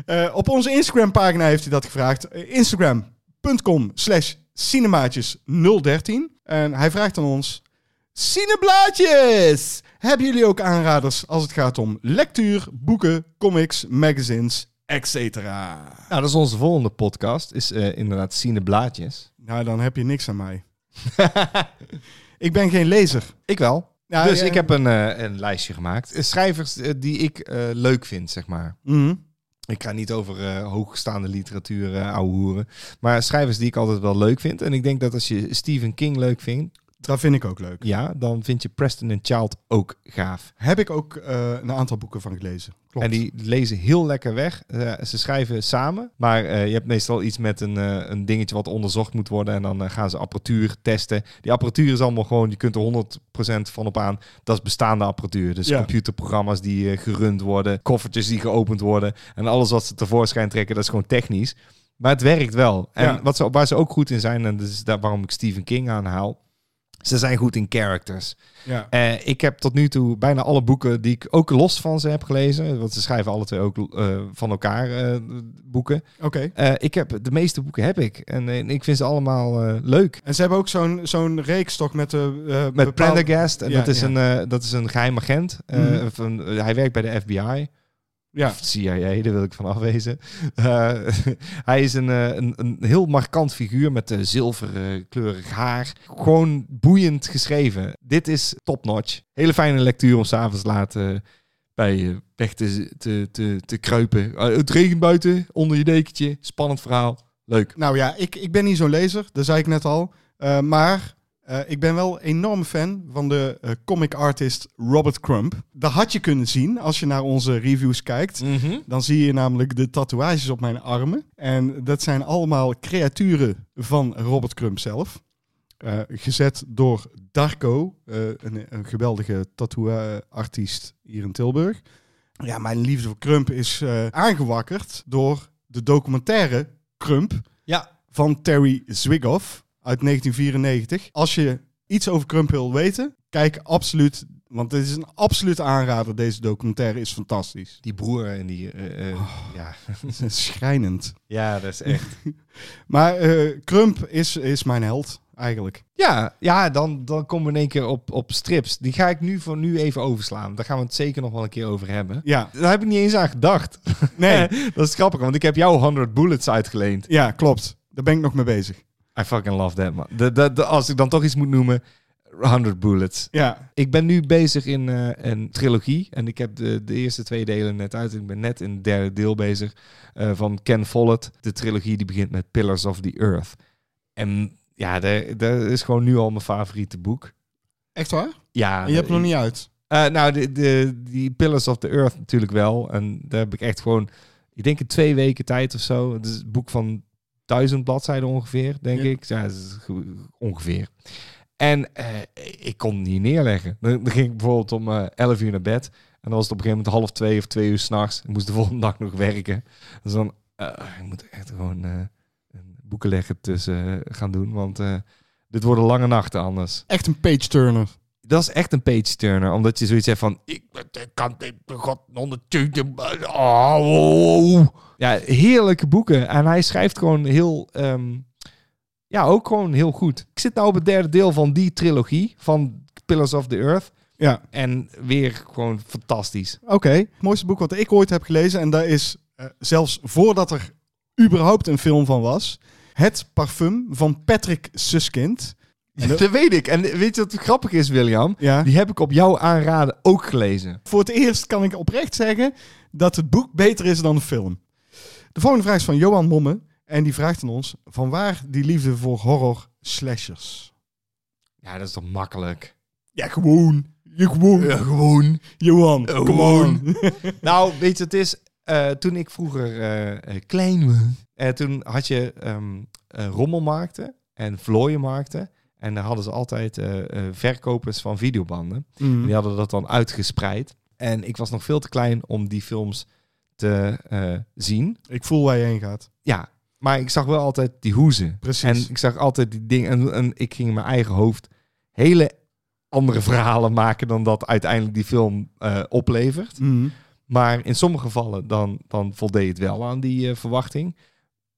Eh, op onze Instagram pagina heeft hij dat gevraagd. Eh, Instagram.com slash Cinemaatjes 013. En hij vraagt aan ons... Cineblaadjes! Hebben jullie ook aanraders als het gaat om lectuur, boeken, comics, magazines, etc.? Nou, dat is onze volgende podcast. Is eh, inderdaad Sine Blaadjes. Nou, dan heb je niks aan mij. ik ben geen lezer. Ik wel. Ja, dus ja. ik heb een, eh, een lijstje gemaakt. Eh, Schrijvers eh, die ik eh, leuk vind, zeg maar. Mhm. Ik ga niet over eh, hoogstaande literatuur, eh ouwe hoeren. Maar schrijvers die ik altijd wel leuk vind. En ik denk dat als je Stephen King leuk vindt, Dat vind ik ook leuk. ja, dan vind je Preston en Child ook gaaf. Heb ik ook eh, een aantal boeken van gelezen. Klopt. En die lezen heel lekker weg. Eh, ze schrijven samen, maar eh, je hebt meestal iets met een, eh, een dingetje wat onderzocht moet worden. En dan eh, gaan ze apparatuur testen. Die apparatuur is allemaal gewoon, je kunt er 100% van op aan. Dat is bestaande apparatuur. Dus Ja. computerprogramma's die eh, gerund worden, koffertjes die geopend worden. En alles wat ze tevoorschijn trekken, dat is gewoon technisch. Maar het werkt wel. En Ja. wat ze, waar ze ook goed in zijn, en dat is daar waarom ik Stephen King aanhaal. Ze zijn goed in characters. Ja. Eh, ik heb tot nu toe bijna alle boeken die ik ook los van ze heb gelezen. Want ze schrijven alle twee ook eh, van elkaar eh, boeken. Oké. Eh, ik heb, de meeste boeken heb ik. En, eh, ik vind ze allemaal eh, leuk. En ze hebben ook zo'n zo'n reeks toch met de... eh, Met bepaalde- Prendergast. En Ja, dat, is ja. een, eh, dat is een geheim agent. eh, Mhm. van, hij werkt bij de FBI. Ja. Of CIA, daar wil ik van afwezen. Eh, hij is een, eh, een, een heel markant figuur met eh zilverkleurig haar. Gewoon boeiend geschreven. Dit is topnotch. Hele fijne lectuur om s'avonds laat eh, bij je weg te, te, te, te kruipen. Eh, het regent buiten, onder je dekentje. Spannend verhaal. Leuk. Nou ja, ik, ik ben niet zo'n lezer, dat zei ik net al. Eh, maar eh, ik ben wel enorm fan van de eh, comic artist Robert Crumb. Dat had je kunnen zien als je naar onze reviews kijkt. Dan zie je namelijk de tatoeages op mijn armen. En dat zijn allemaal creaturen van Robert Crumb zelf. Eh, gezet door Darko, eh, een, een geweldige tattoo-artiest hier in Tilburg. Ja, mijn liefde voor Crump is eh, aangewakkerd door de documentaire Crump Ja. van Terry Zwigoff uit 1994. Als je iets over Crump wil weten, kijk absoluut, want dit is een absolute aanrader. Deze documentaire is fantastisch. Die broer en die... eh, eh, ja. Het is Schrijnend. ja, dat is echt... Maar eh Crump is, is mijn held, eigenlijk. Ja, ja dan, dan komen we in één keer op, op strips. Die ga ik nu voor nu even overslaan. Daar gaan we het zeker nog wel een keer over hebben. Ja, Daar heb ik niet eens aan gedacht. nee. dat is grappig, want ik heb jou 100 bullets uitgeleend. ja, klopt. Daar ben ik nog mee bezig. I fucking love that, man. De, de, de- als ik dan toch iets moet noemen, 100 bullets. Ja, Ik ben nu bezig in eh, een trilogie. En ik heb de, de eerste twee delen net uit. Ik ben net in het derde deel bezig eh, van Ken Follett. De trilogie die begint met Pillars of the Earth. En ja, dat dat is gewoon nu al mijn favoriete boek. echt waar? Ja, En je hebt hem ik- nog niet uit. Eh, nou, de, de, die Pillars of the Earth natuurlijk wel. En daar heb ik echt gewoon, ik denk in twee weken tijd of zo. Het is een boek van duizend bladzijden ongeveer, denk Ja. ik. Ja, het is ge- ongeveer. En eh, ik kon het niet neerleggen. Dan, dan ging ik bijvoorbeeld om eh 11 uur naar bed. En dan was het op een gegeven moment half twee of twee uur s'nachts. Ik moest de volgende dag nog werken. Dus dan, eh, ik moet echt gewoon eh, een boeken leggen tussen eh, gaan doen. Want eh, dit worden lange nachten anders Echt een page-turner. dat is echt een page turner, omdat je zoiets hebt van ik ik kan dit god ondertussen. Oh, oh, oh. Ja, heerlijke boeken en hij schrijft gewoon heel ehm, ja, ook gewoon heel goed. Ik zit nou op het derde deel van die trilogie van Pillars of the Earth Ja, en weer gewoon fantastisch. oké. Het mooiste boek wat ik ooit heb gelezen, en daar is eh, zelfs voordat er überhaupt een film van was, Het Parfum van Patrick Suskind. Dat weet ik. En weet je wat grappig is, William? Ja. Die heb ik op jou aanraden ook gelezen. Voor het eerst kan ik oprecht zeggen dat het boek beter is dan de film. De volgende vraag is van Johan Momme. En die vraagt aan ons: van waar die liefde voor horror slashers? Ja, dat is toch makkelijk. Ja, gewoon. Je gewoon. gewoon. Johan, Eh, come on. Nou, weet je, het is. eh, toen ik vroeger eh, eh, klein was, eh, toen had je ehm, eh, rommelmarkten en vlooienmarkten. En daar hadden ze altijd eh, eh, verkopers van videobanden. Mhm. Mm. En die hadden dat dan uitgespreid. En ik was nog veel te klein om die films te eh, zien. Ik voel waar je heen gaat. Ja, maar ik zag wel altijd die hoezen. Precies. En ik zag altijd die dingen. En, en ik ging in mijn eigen hoofd hele andere verhalen maken dan dat uiteindelijk die film eh, oplevert. Mhm. Maar in sommige gevallen dan, dan voldeed het wel aan die eh, verwachting.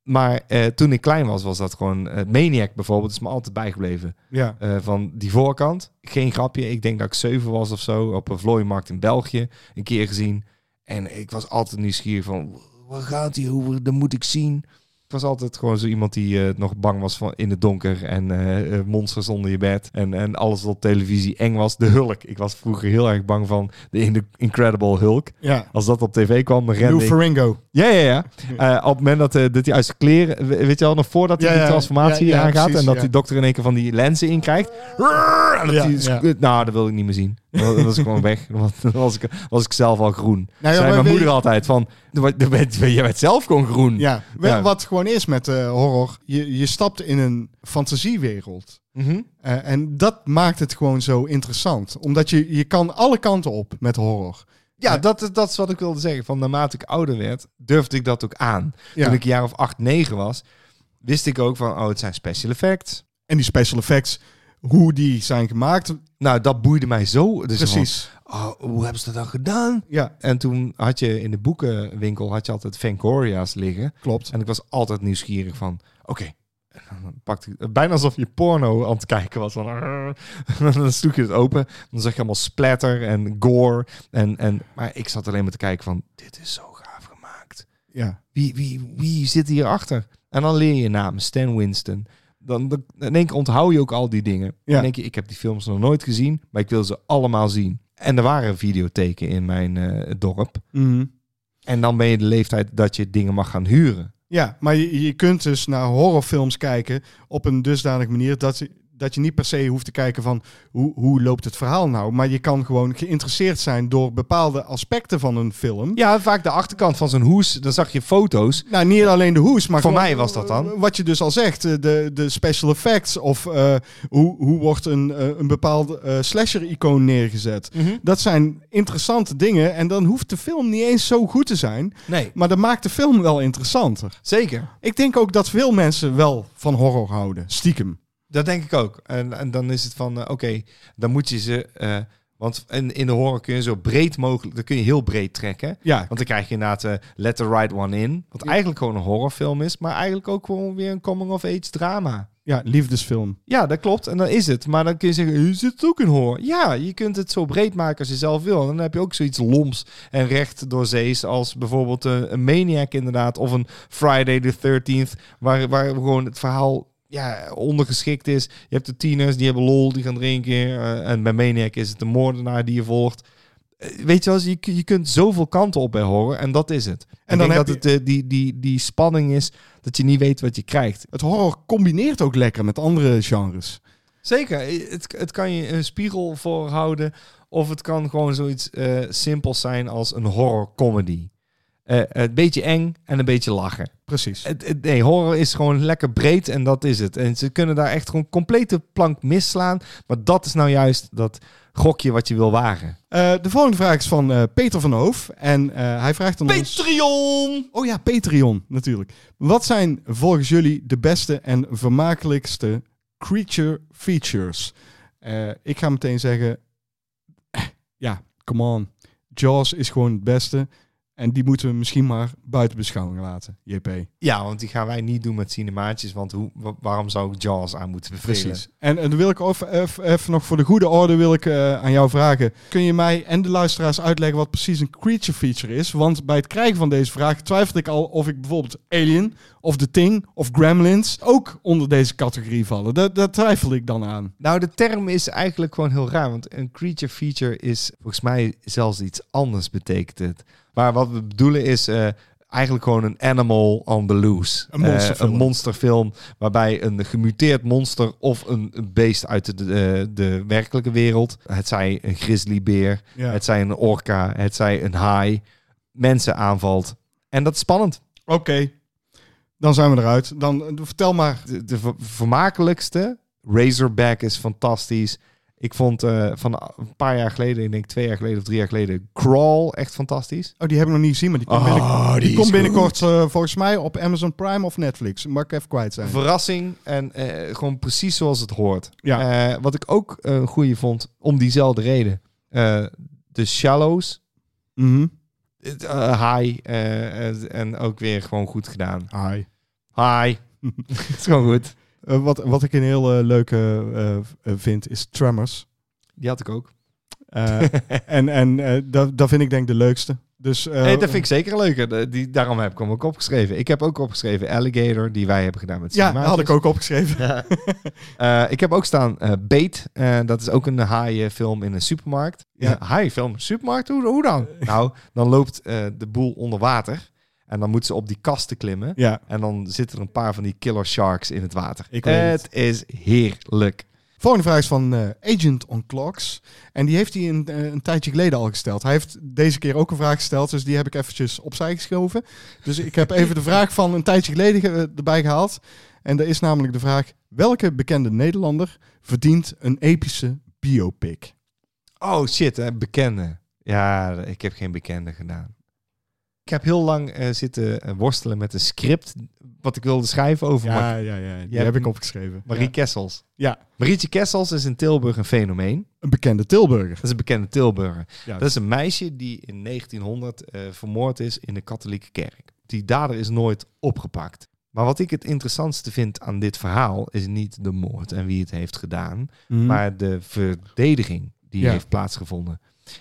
Maar eh, toen ik klein was, was dat gewoon... eh, Maniac bijvoorbeeld is me altijd bijgebleven. Ja. Eh, van die voorkant, geen grapje. Ik denk dat ik zeven was of zo, op een vlooimarkt in België. Een keer gezien. En ik was altijd nieuwsgierig van... Waar gaat hij over? Dat moet ik zien. Ik was altijd gewoon zo iemand die eh, nog bang was van in het donker. En eh, eh, monsters onder je bed. En, en alles wat op televisie eng was. De Hulk. Ik was vroeger heel erg bang van de In- Incredible Hulk. Ja. Als dat op tv kwam, dan rende Lou ik- Ferringo. ja, ja, ja. Eh, op het moment dat, eh, dat hij uit zijn kleren, we- weet je wel, nog voordat hij Ja, die ja. transformatie Ja, ja, aangaat precies, en dat ja. die dokter in één keer van die lenzen inkrijgt. Rrrr, en dat Ja, hij ja. squ- Nou, dat wil ik niet meer zien. Dan dan was ik gewoon weg. Want dan was ik, was ik zelf al groen. Nou ja, zei maar mijn weet moeder je- altijd van, "Je werd- je werd- je werd zelf gewoon groen. Ja, we- Hm. Ja. wat gewoon is met eh, horror, je, je stapt in een fantasiewereld. Mhm. Eh, en dat maakt het gewoon zo interessant. Omdat je, je kan alle kanten op met horror. Ja, dat, dat is wat ik wilde zeggen. Van naarmate ik ouder werd, durfde ik dat ook aan. Ja. Toen ik een jaar of acht, negen was, wist ik ook van, oh, het zijn special effects. En die special effects, hoe die zijn gemaakt. Nou, dat boeide mij zo. Dus Precies. van, oh, hoe hebben ze dat dan gedaan? Ja, En toen had je in de boekenwinkel had je altijd Vangoria's liggen. klopt. En ik was altijd nieuwsgierig van, oké. En dan pakte ik- Bijna alsof je porno aan het kijken was. Van, "Arr." En dan sloeg je het open. Dan zag je allemaal splatter en gore. En, en, maar ik zat alleen maar te kijken van, dit is zo gaaf gemaakt. Ja. Wie, wie, wie zit hierachter? En dan leer je naam, Stan Winston. Dan, dan in één keer onthoud je ook al die dingen. Ja. Dan denk je, ik heb die films nog nooit gezien, maar ik wil ze allemaal zien. En er waren videotheken in mijn eh, dorp. Mhm. En dan ben je de leeftijd dat je dingen mag gaan huren. Ja, maar je, je kunt dus naar horrorfilms kijken op een dusdanige manier dat, je- dat je niet per se hoeft te kijken van hoe, hoe loopt het verhaal nou. Maar je kan gewoon geïnteresseerd zijn door bepaalde aspecten van een film. Ja, vaak de achterkant van zo'n hoes, dan zag je foto's. Nou, niet alleen de hoes, maar Voor gewoon, mij was dat dan. eh, Wat je dus al zegt, eh, de, de special effects of eh, hoe, hoe wordt een, eh, een bepaald eh, slasher-icoon neergezet. Mhm. Dat zijn interessante dingen en dan hoeft de film niet eens zo goed te zijn, Nee, maar dat maakt de film wel interessanter. zeker. Ik denk ook dat veel mensen wel van horror houden. Stiekem. Dat denk ik ook. En, en dan is het van, eh, oké, dan moet je ze... eh, want in, in de horror kun je zo breed mogelijk... Dan kun je heel breed trekken. Ja, Want dan krijg je inderdaad eh, Let the Right One In. Wat eigenlijk gewoon een horrorfilm is. Maar eigenlijk ook gewoon weer een coming-of-age drama. ja liefdesfilm. Ja, dat klopt. En dan is het. Maar dan kun je zeggen, is het ook een horror? Ja, je kunt het zo breed maken als je zelf wil. En dan heb je ook zoiets loms en recht door zees als bijvoorbeeld eh, een Maniac inderdaad. Of een Friday the 13th, waar, waar gewoon het verhaal ja, ondergeschikt is. Je hebt de tieners, die hebben lol, die gaan drinken. eh, en bij Maniac is het de moordenaar die je volgt. Eh, Weet je wel, je, je kunt zoveel kanten op bij horror en dat is het. En dan ik denk heb dat het eh, die, die, die spanning is dat je niet weet wat je krijgt. Het horror combineert ook lekker met andere genres. Zeker. Het, het kan je een spiegel voor houden. Of het kan gewoon zoiets eh, simpels zijn als een horror comedy. Eh, een beetje eng en een beetje lachen. Precies. Het, het- nee, horror is gewoon lekker breed en dat is het. En ze kunnen daar echt gewoon complete plank misslaan. Maar dat is nou juist dat gokje wat je wil wagen. Eh, de volgende vraag is van eh, Peter van Hoof. En eh, hij vraagt aan ons... Patreon! Oh ja, Patreon, natuurlijk. Wat zijn volgens jullie de beste en vermakelijkste creature features? Eh, ik ga meteen zeggen... eh, Ja, come on. Jaws is gewoon het beste. En die moeten we misschien maar buiten beschouwing laten. JP. Ja, want die gaan wij niet doen met cinemaatjes. Want hoe, wa- waarom zou ik Jaws aan moeten bevelen? Precies. En, en dan wil ik of- of- even nog voor de goede orde wil ik, eh, aan jou vragen. Kun je mij en de luisteraars uitleggen wat precies een creature feature is? Want bij het krijgen van deze vraag twijfelde ik al of ik bijvoorbeeld Alien of The Thing of Gremlins ook onder deze categorie vallen. Daar, daar twijfel ik dan aan. Nou, de term is eigenlijk gewoon heel raar. Want een creature feature is volgens mij zelfs iets anders betekent het. Maar wat we bedoelen is eh, eigenlijk gewoon een animal on the loose. Een monsterfilm. Eh, een monsterfilm waarbij een gemuteerd monster of een, een beest uit de, de, de werkelijke wereld... Het zij een grizzlybeer, Ja. het zij een orka, het zij een haai... mensen aanvalt. En dat is spannend. Oké. Dan zijn we eruit. Dan eh, vertel maar. de, de ver- vermakelijkste. Razorback is fantastisch. Ik vond eh, van een paar jaar geleden, ik denk twee jaar geleden of drie jaar geleden, Crawl echt fantastisch. Oh, die hebben we nog niet gezien, maar die komt, Oh, binnen- die die is komt goed. binnenkort eh, volgens mij op Amazon Prime of Netflix. Mag ik even kwijt zijn. Verrassing en eh, gewoon precies zoals het hoort. Ja. Eh, wat ik ook eh, een goede vond, om diezelfde reden. eh, de Shallows, Mhm. eh, eh, High eh, eh, en ook weer gewoon goed gedaan. Hi. Hi. Het is gewoon goed. Eh, wat, wat ik een heel eh, leuke eh, eh, vind is Tremors. Die had ik ook. Eh, en en eh, dat, dat vind ik denk ik de leukste. Dus, eh, Nee, dat vind ik zeker leuker. De- Die, daarom heb ik hem ook opgeschreven. Ik heb ook opgeschreven Alligator, die wij hebben gedaan met Ja, Cinemaatjes. had ik ook opgeschreven. Ja. Eh, ik heb ook staan eh Bait. Eh, dat is ook een haaienfilm in een supermarkt. Ja. Ja. Haaienfilm, supermarkt? Hoe, hoe dan? nou, dan loopt eh, de boel onder water. En dan moeten ze op die kasten klimmen. Ja. En dan zitten er een paar van die killer sharks in het water. Ik weet het is heerlijk. Volgende vraag is van eh, Agent on Clocks. En die heeft hij een, eh, een tijdje geleden al gesteld. Hij heeft deze keer ook een vraag gesteld, dus die heb ik eventjes opzij geschoven. Dus ik heb even de vraag van een tijdje geleden ge- eh, erbij gehaald. En dat is namelijk de vraag, welke bekende Nederlander verdient een epische biopic? Oh shit, hè, bekende. Ja, ik heb geen bekende gedaan. Ik heb heel lang eh, zitten eh, worstelen met een script wat ik wilde schrijven over Mar- ja, ja. Die hebt heb ik hem. opgeschreven. Marie Ja. Kessels. Ja, Marietje Kessels is in Tilburg een fenomeen. een bekende Tilburger. Dat is een bekende Tilburger. Ja. dus- Dat is een meisje die in 1900 eh, vermoord is in de katholieke kerk. Die dader is nooit opgepakt. Maar wat ik het interessantste vind aan dit verhaal is niet de moord en wie het heeft gedaan, Mhm. maar de verdediging die Ja. heeft plaatsgevonden.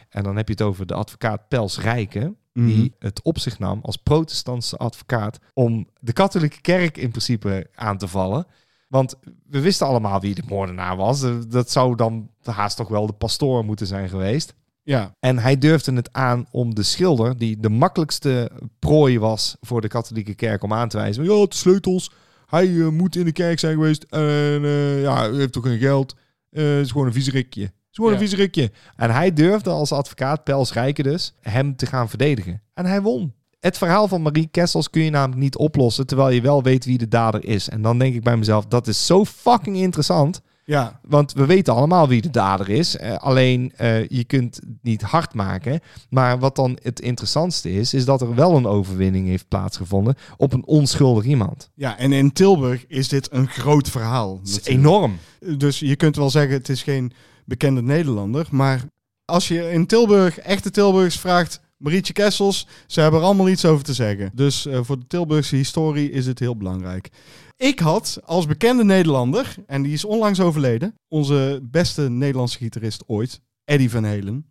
En dan heb je het over de advocaat Pels Rijken, Mhm. die het op zich nam als protestantse advocaat om de katholieke kerk in principe aan te vallen. Want we wisten allemaal wie de moordenaar was. Eh, Dat zou dan haast toch wel de pastoor moeten zijn geweest. Ja, En hij durfde het aan om de schilder, die de makkelijkste prooi was voor de katholieke kerk om aan te wijzen. Ja, de sleutels. Hij eh, moet in de kerk zijn geweest. En eh, ja, hij heeft toch geen geld. Eh, Het is gewoon een vieserikje. Het is gewoon Ja. een vieserikje. En hij durfde als advocaat, Pels Rijken dus, hem te gaan verdedigen. En hij won. Het verhaal van Marie Kessels kun je namelijk niet oplossen, terwijl je wel weet wie de dader is. En dan denk ik bij mezelf, dat is zo fucking interessant. ja. Want we weten allemaal wie de dader is. Eh, alleen eh, je kunt het niet hard maken. Maar wat dan het interessantste is, is dat er wel een overwinning heeft plaatsgevonden op een onschuldig iemand. ja, en in Tilburg is dit een groot verhaal. Dat is natuurlijk. enorm. Dus je kunt wel zeggen, het is geen bekende Nederlander. Maar als je in Tilburg echte Tilburgs vraagt, Marietje Kessels, ze hebben er allemaal iets over te zeggen. Dus eh, voor de Tilburgse historie is het heel belangrijk. Ik had als bekende Nederlander, en die is onlangs overleden, onze beste Nederlandse gitarist ooit, Eddie van Helen.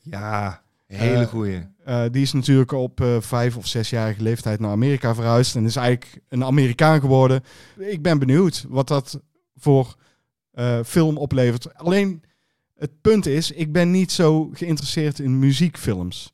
Ja, hele Eh, goeie. Eh, die is natuurlijk op eh, vijf of zesjarige leeftijd naar Amerika verhuisd en is eigenlijk een Amerikaan geworden. Ik ben benieuwd wat dat voor eh, film oplevert. Alleen het punt is, ik ben niet zo geïnteresseerd in muziekfilms.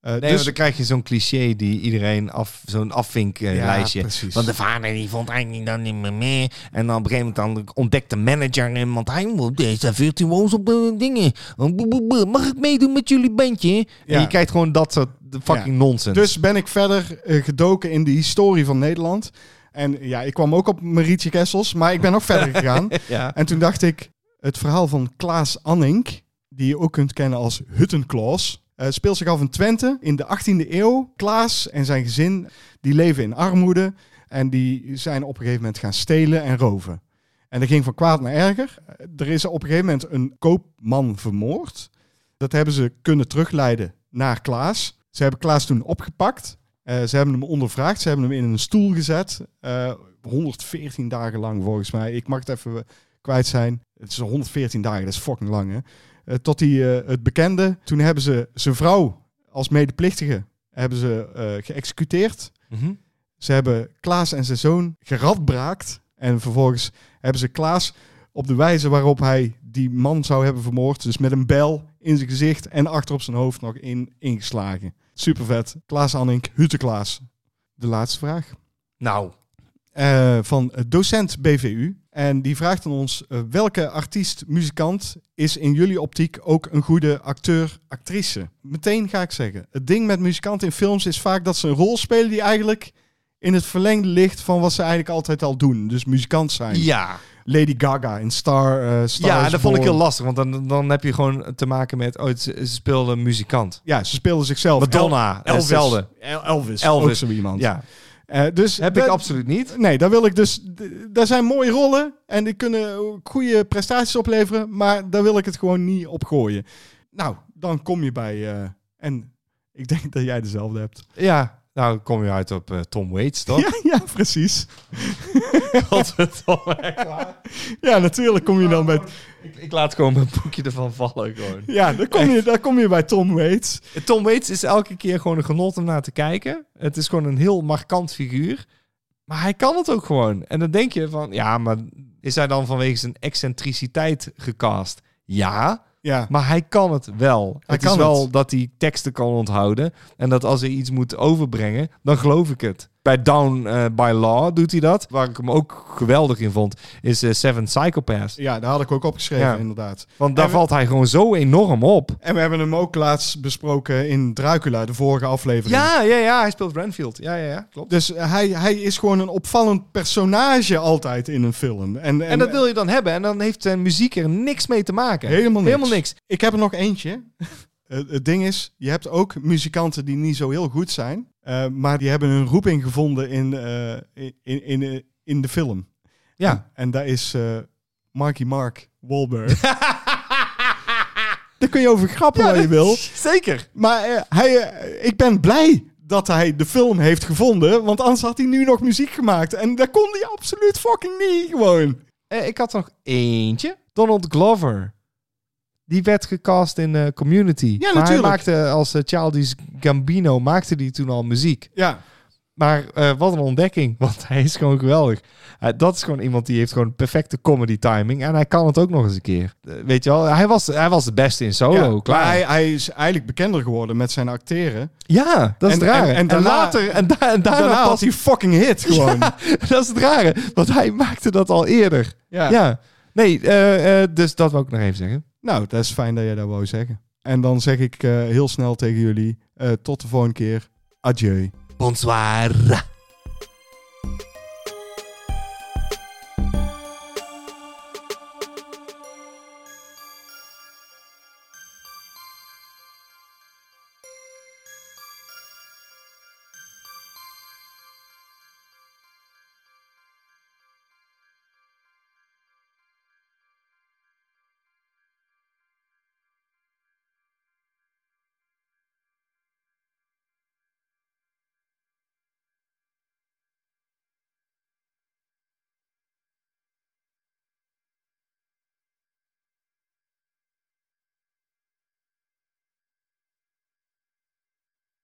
Eh, Nee, dus want dan krijg je zo'n cliché die iedereen af, zo'n Ja, afvinklijstje. precies. want de vader die vond eigenlijk dan niet meer mee. En dan op een gegeven moment dan ontdekt de manager hem, want hij moet deze virtuoos op eh, dingen. Boe, boe, boe. Mag ik meedoen met jullie bandje? Ja. En je krijgt gewoon dat soort fucking Ja. nonsens. Dus ben ik verder eh, gedoken in de historie van Nederland. En ja, ik kwam ook op Marietje Kessels, maar ik ben nog verder gegaan. ja. En toen dacht ik, het verhaal van Klaas Annink, die je ook kunt kennen als Huttenklaas, eh, speelt zich af in Twente in de 18e eeuw. Klaas en zijn gezin, die leven in armoede en die zijn op een gegeven moment gaan stelen en roven. En dat ging van kwaad naar erger. Eh, Er is op een gegeven moment een koopman vermoord. Dat hebben ze kunnen terugleiden naar Klaas. Ze hebben Klaas toen opgepakt. Eh, ze hebben hem ondervraagd. Ze hebben hem in een stoel gezet. Eh, 114 dagen lang volgens mij. Ik mag het even eh, kwijt zijn. Het is 114 dagen, dat is fucking lang hè. Eh, tot hij eh, het bekende. Toen hebben ze zijn vrouw als medeplichtige hebben ze, eh, geëxecuteerd. Mhm. Ze hebben Klaas en zijn zoon geradbraakt. En vervolgens hebben ze Klaas op de wijze waarop hij die man zou hebben vermoord. Dus met een bel in zijn gezicht en achter op zijn hoofd nog in, ingeslagen. Super vet. Klaas Annink, Hute Klaas. De laatste vraag. Nou, eh, van eh, docent BVU. En die vraagt aan ons: eh, welke artiest, muzikant is in jullie optiek ook een goede acteur, actrice? Meteen ga ik zeggen: het ding met muzikanten in films is vaak dat ze een rol spelen die eigenlijk in het verlengde ligt van wat ze eigenlijk altijd al doen. Dus muzikant zijn. ja. Lady Gaga in Star. eh Star ja, is dat vond ik heel Born. lastig. Want dan, dan heb je gewoon te maken met... Oh, ze, ze speelde een muzikant. Ja, ze speelden zichzelf. Madonna, El- Elvis. hetzelfde. El- Elvis. Elvis. Ook zo iemand. Ja, Eh, dus heb ik dat- absoluut niet. Nee, daar wil ik dus. d- Daar zijn mooie rollen en die kunnen ook goede prestaties opleveren, maar daar wil ik het gewoon niet op gooien. Nou, dan kom je bij. eh, en ik denk dat jij dezelfde hebt. Ja, Nou, dan kom je uit op eh, Tom Waits, toch? Ja, ja precies. Dat het al Ja, natuurlijk kom je dan bij... Oh. Ik, ik laat gewoon mijn boekje ervan vallen. Gewoon. Ja, dan kom, je, dan kom je bij Tom Waits. Tom Waits is elke keer gewoon een genot om naar te kijken. Het is gewoon een heel markant figuur. Maar hij kan het ook gewoon. En dan denk je van, ja, maar is hij dan vanwege zijn excentriciteit gecast? Ja, Ja. maar hij kan het wel. Hij kan is wel het. dat hij teksten kan onthouden. En dat als hij iets moet overbrengen, dan geloof ik het. Bij Down eh, by Law doet hij dat. Waar ik hem ook geweldig in vond, is eh, Seven Psychopaths. Ja, daar had ik ook opgeschreven, Ja. inderdaad. Want daar En we- valt hij gewoon zo enorm op. En we hebben hem ook laatst besproken in Dracula, de vorige aflevering. Ja, ja, ja, hij speelt Renfield. Ja, ja, ja, klopt. Dus hij, hij is gewoon een opvallend personage altijd in een film. En, en, eh, En, dat wil je dan hebben. En dan heeft zijn muziek er niks mee te maken. helemaal niks. Helemaal niks. Ik heb er nog eentje. het, het ding is, je hebt ook muzikanten die niet zo heel goed zijn. eh, maar die hebben hun roeping gevonden in, eh, in, in, in, eh, in de film. Ja. En daar is eh Marky Mark Wahlberg. daar kun je over grappen waar je wil. Zeker. Maar eh, hij, eh, ik ben blij dat hij de film heeft gevonden. Want anders had hij nu nog muziek gemaakt. En dat kon hij absoluut fucking niet gewoon. Eh, ik had er nog eentje. Donald Glover. Die werd gecast in eh, Community. Ja, natuurlijk. Hij maakte als eh, Childish Gambino maakte die toen al muziek. Ja, Maar eh, wat een ontdekking, want hij is gewoon geweldig. Eh, dat is gewoon iemand die heeft gewoon perfecte comedy timing. En hij kan het ook nog eens een keer. Eh, weet je wel, hij was, hij was de beste in solo. ja. Oh, klaar. Maar hij, hij is eigenlijk bekender geworden met zijn acteren. Ja, dat is En- het rare. en- En, en daarna- later, en, da- en daarna, Daarna, pas had hij fucking hit gewoon. Ja, dat is het rare, want hij maakte dat al eerder. Ja. Ja. Nee, eh, eh, dus dat wou ik nog even zeggen. Nou, dat is fijn dat jij dat wou zeggen. En dan zeg ik eh, heel snel tegen jullie, eh, tot de volgende keer. Adieu. Bonsoir.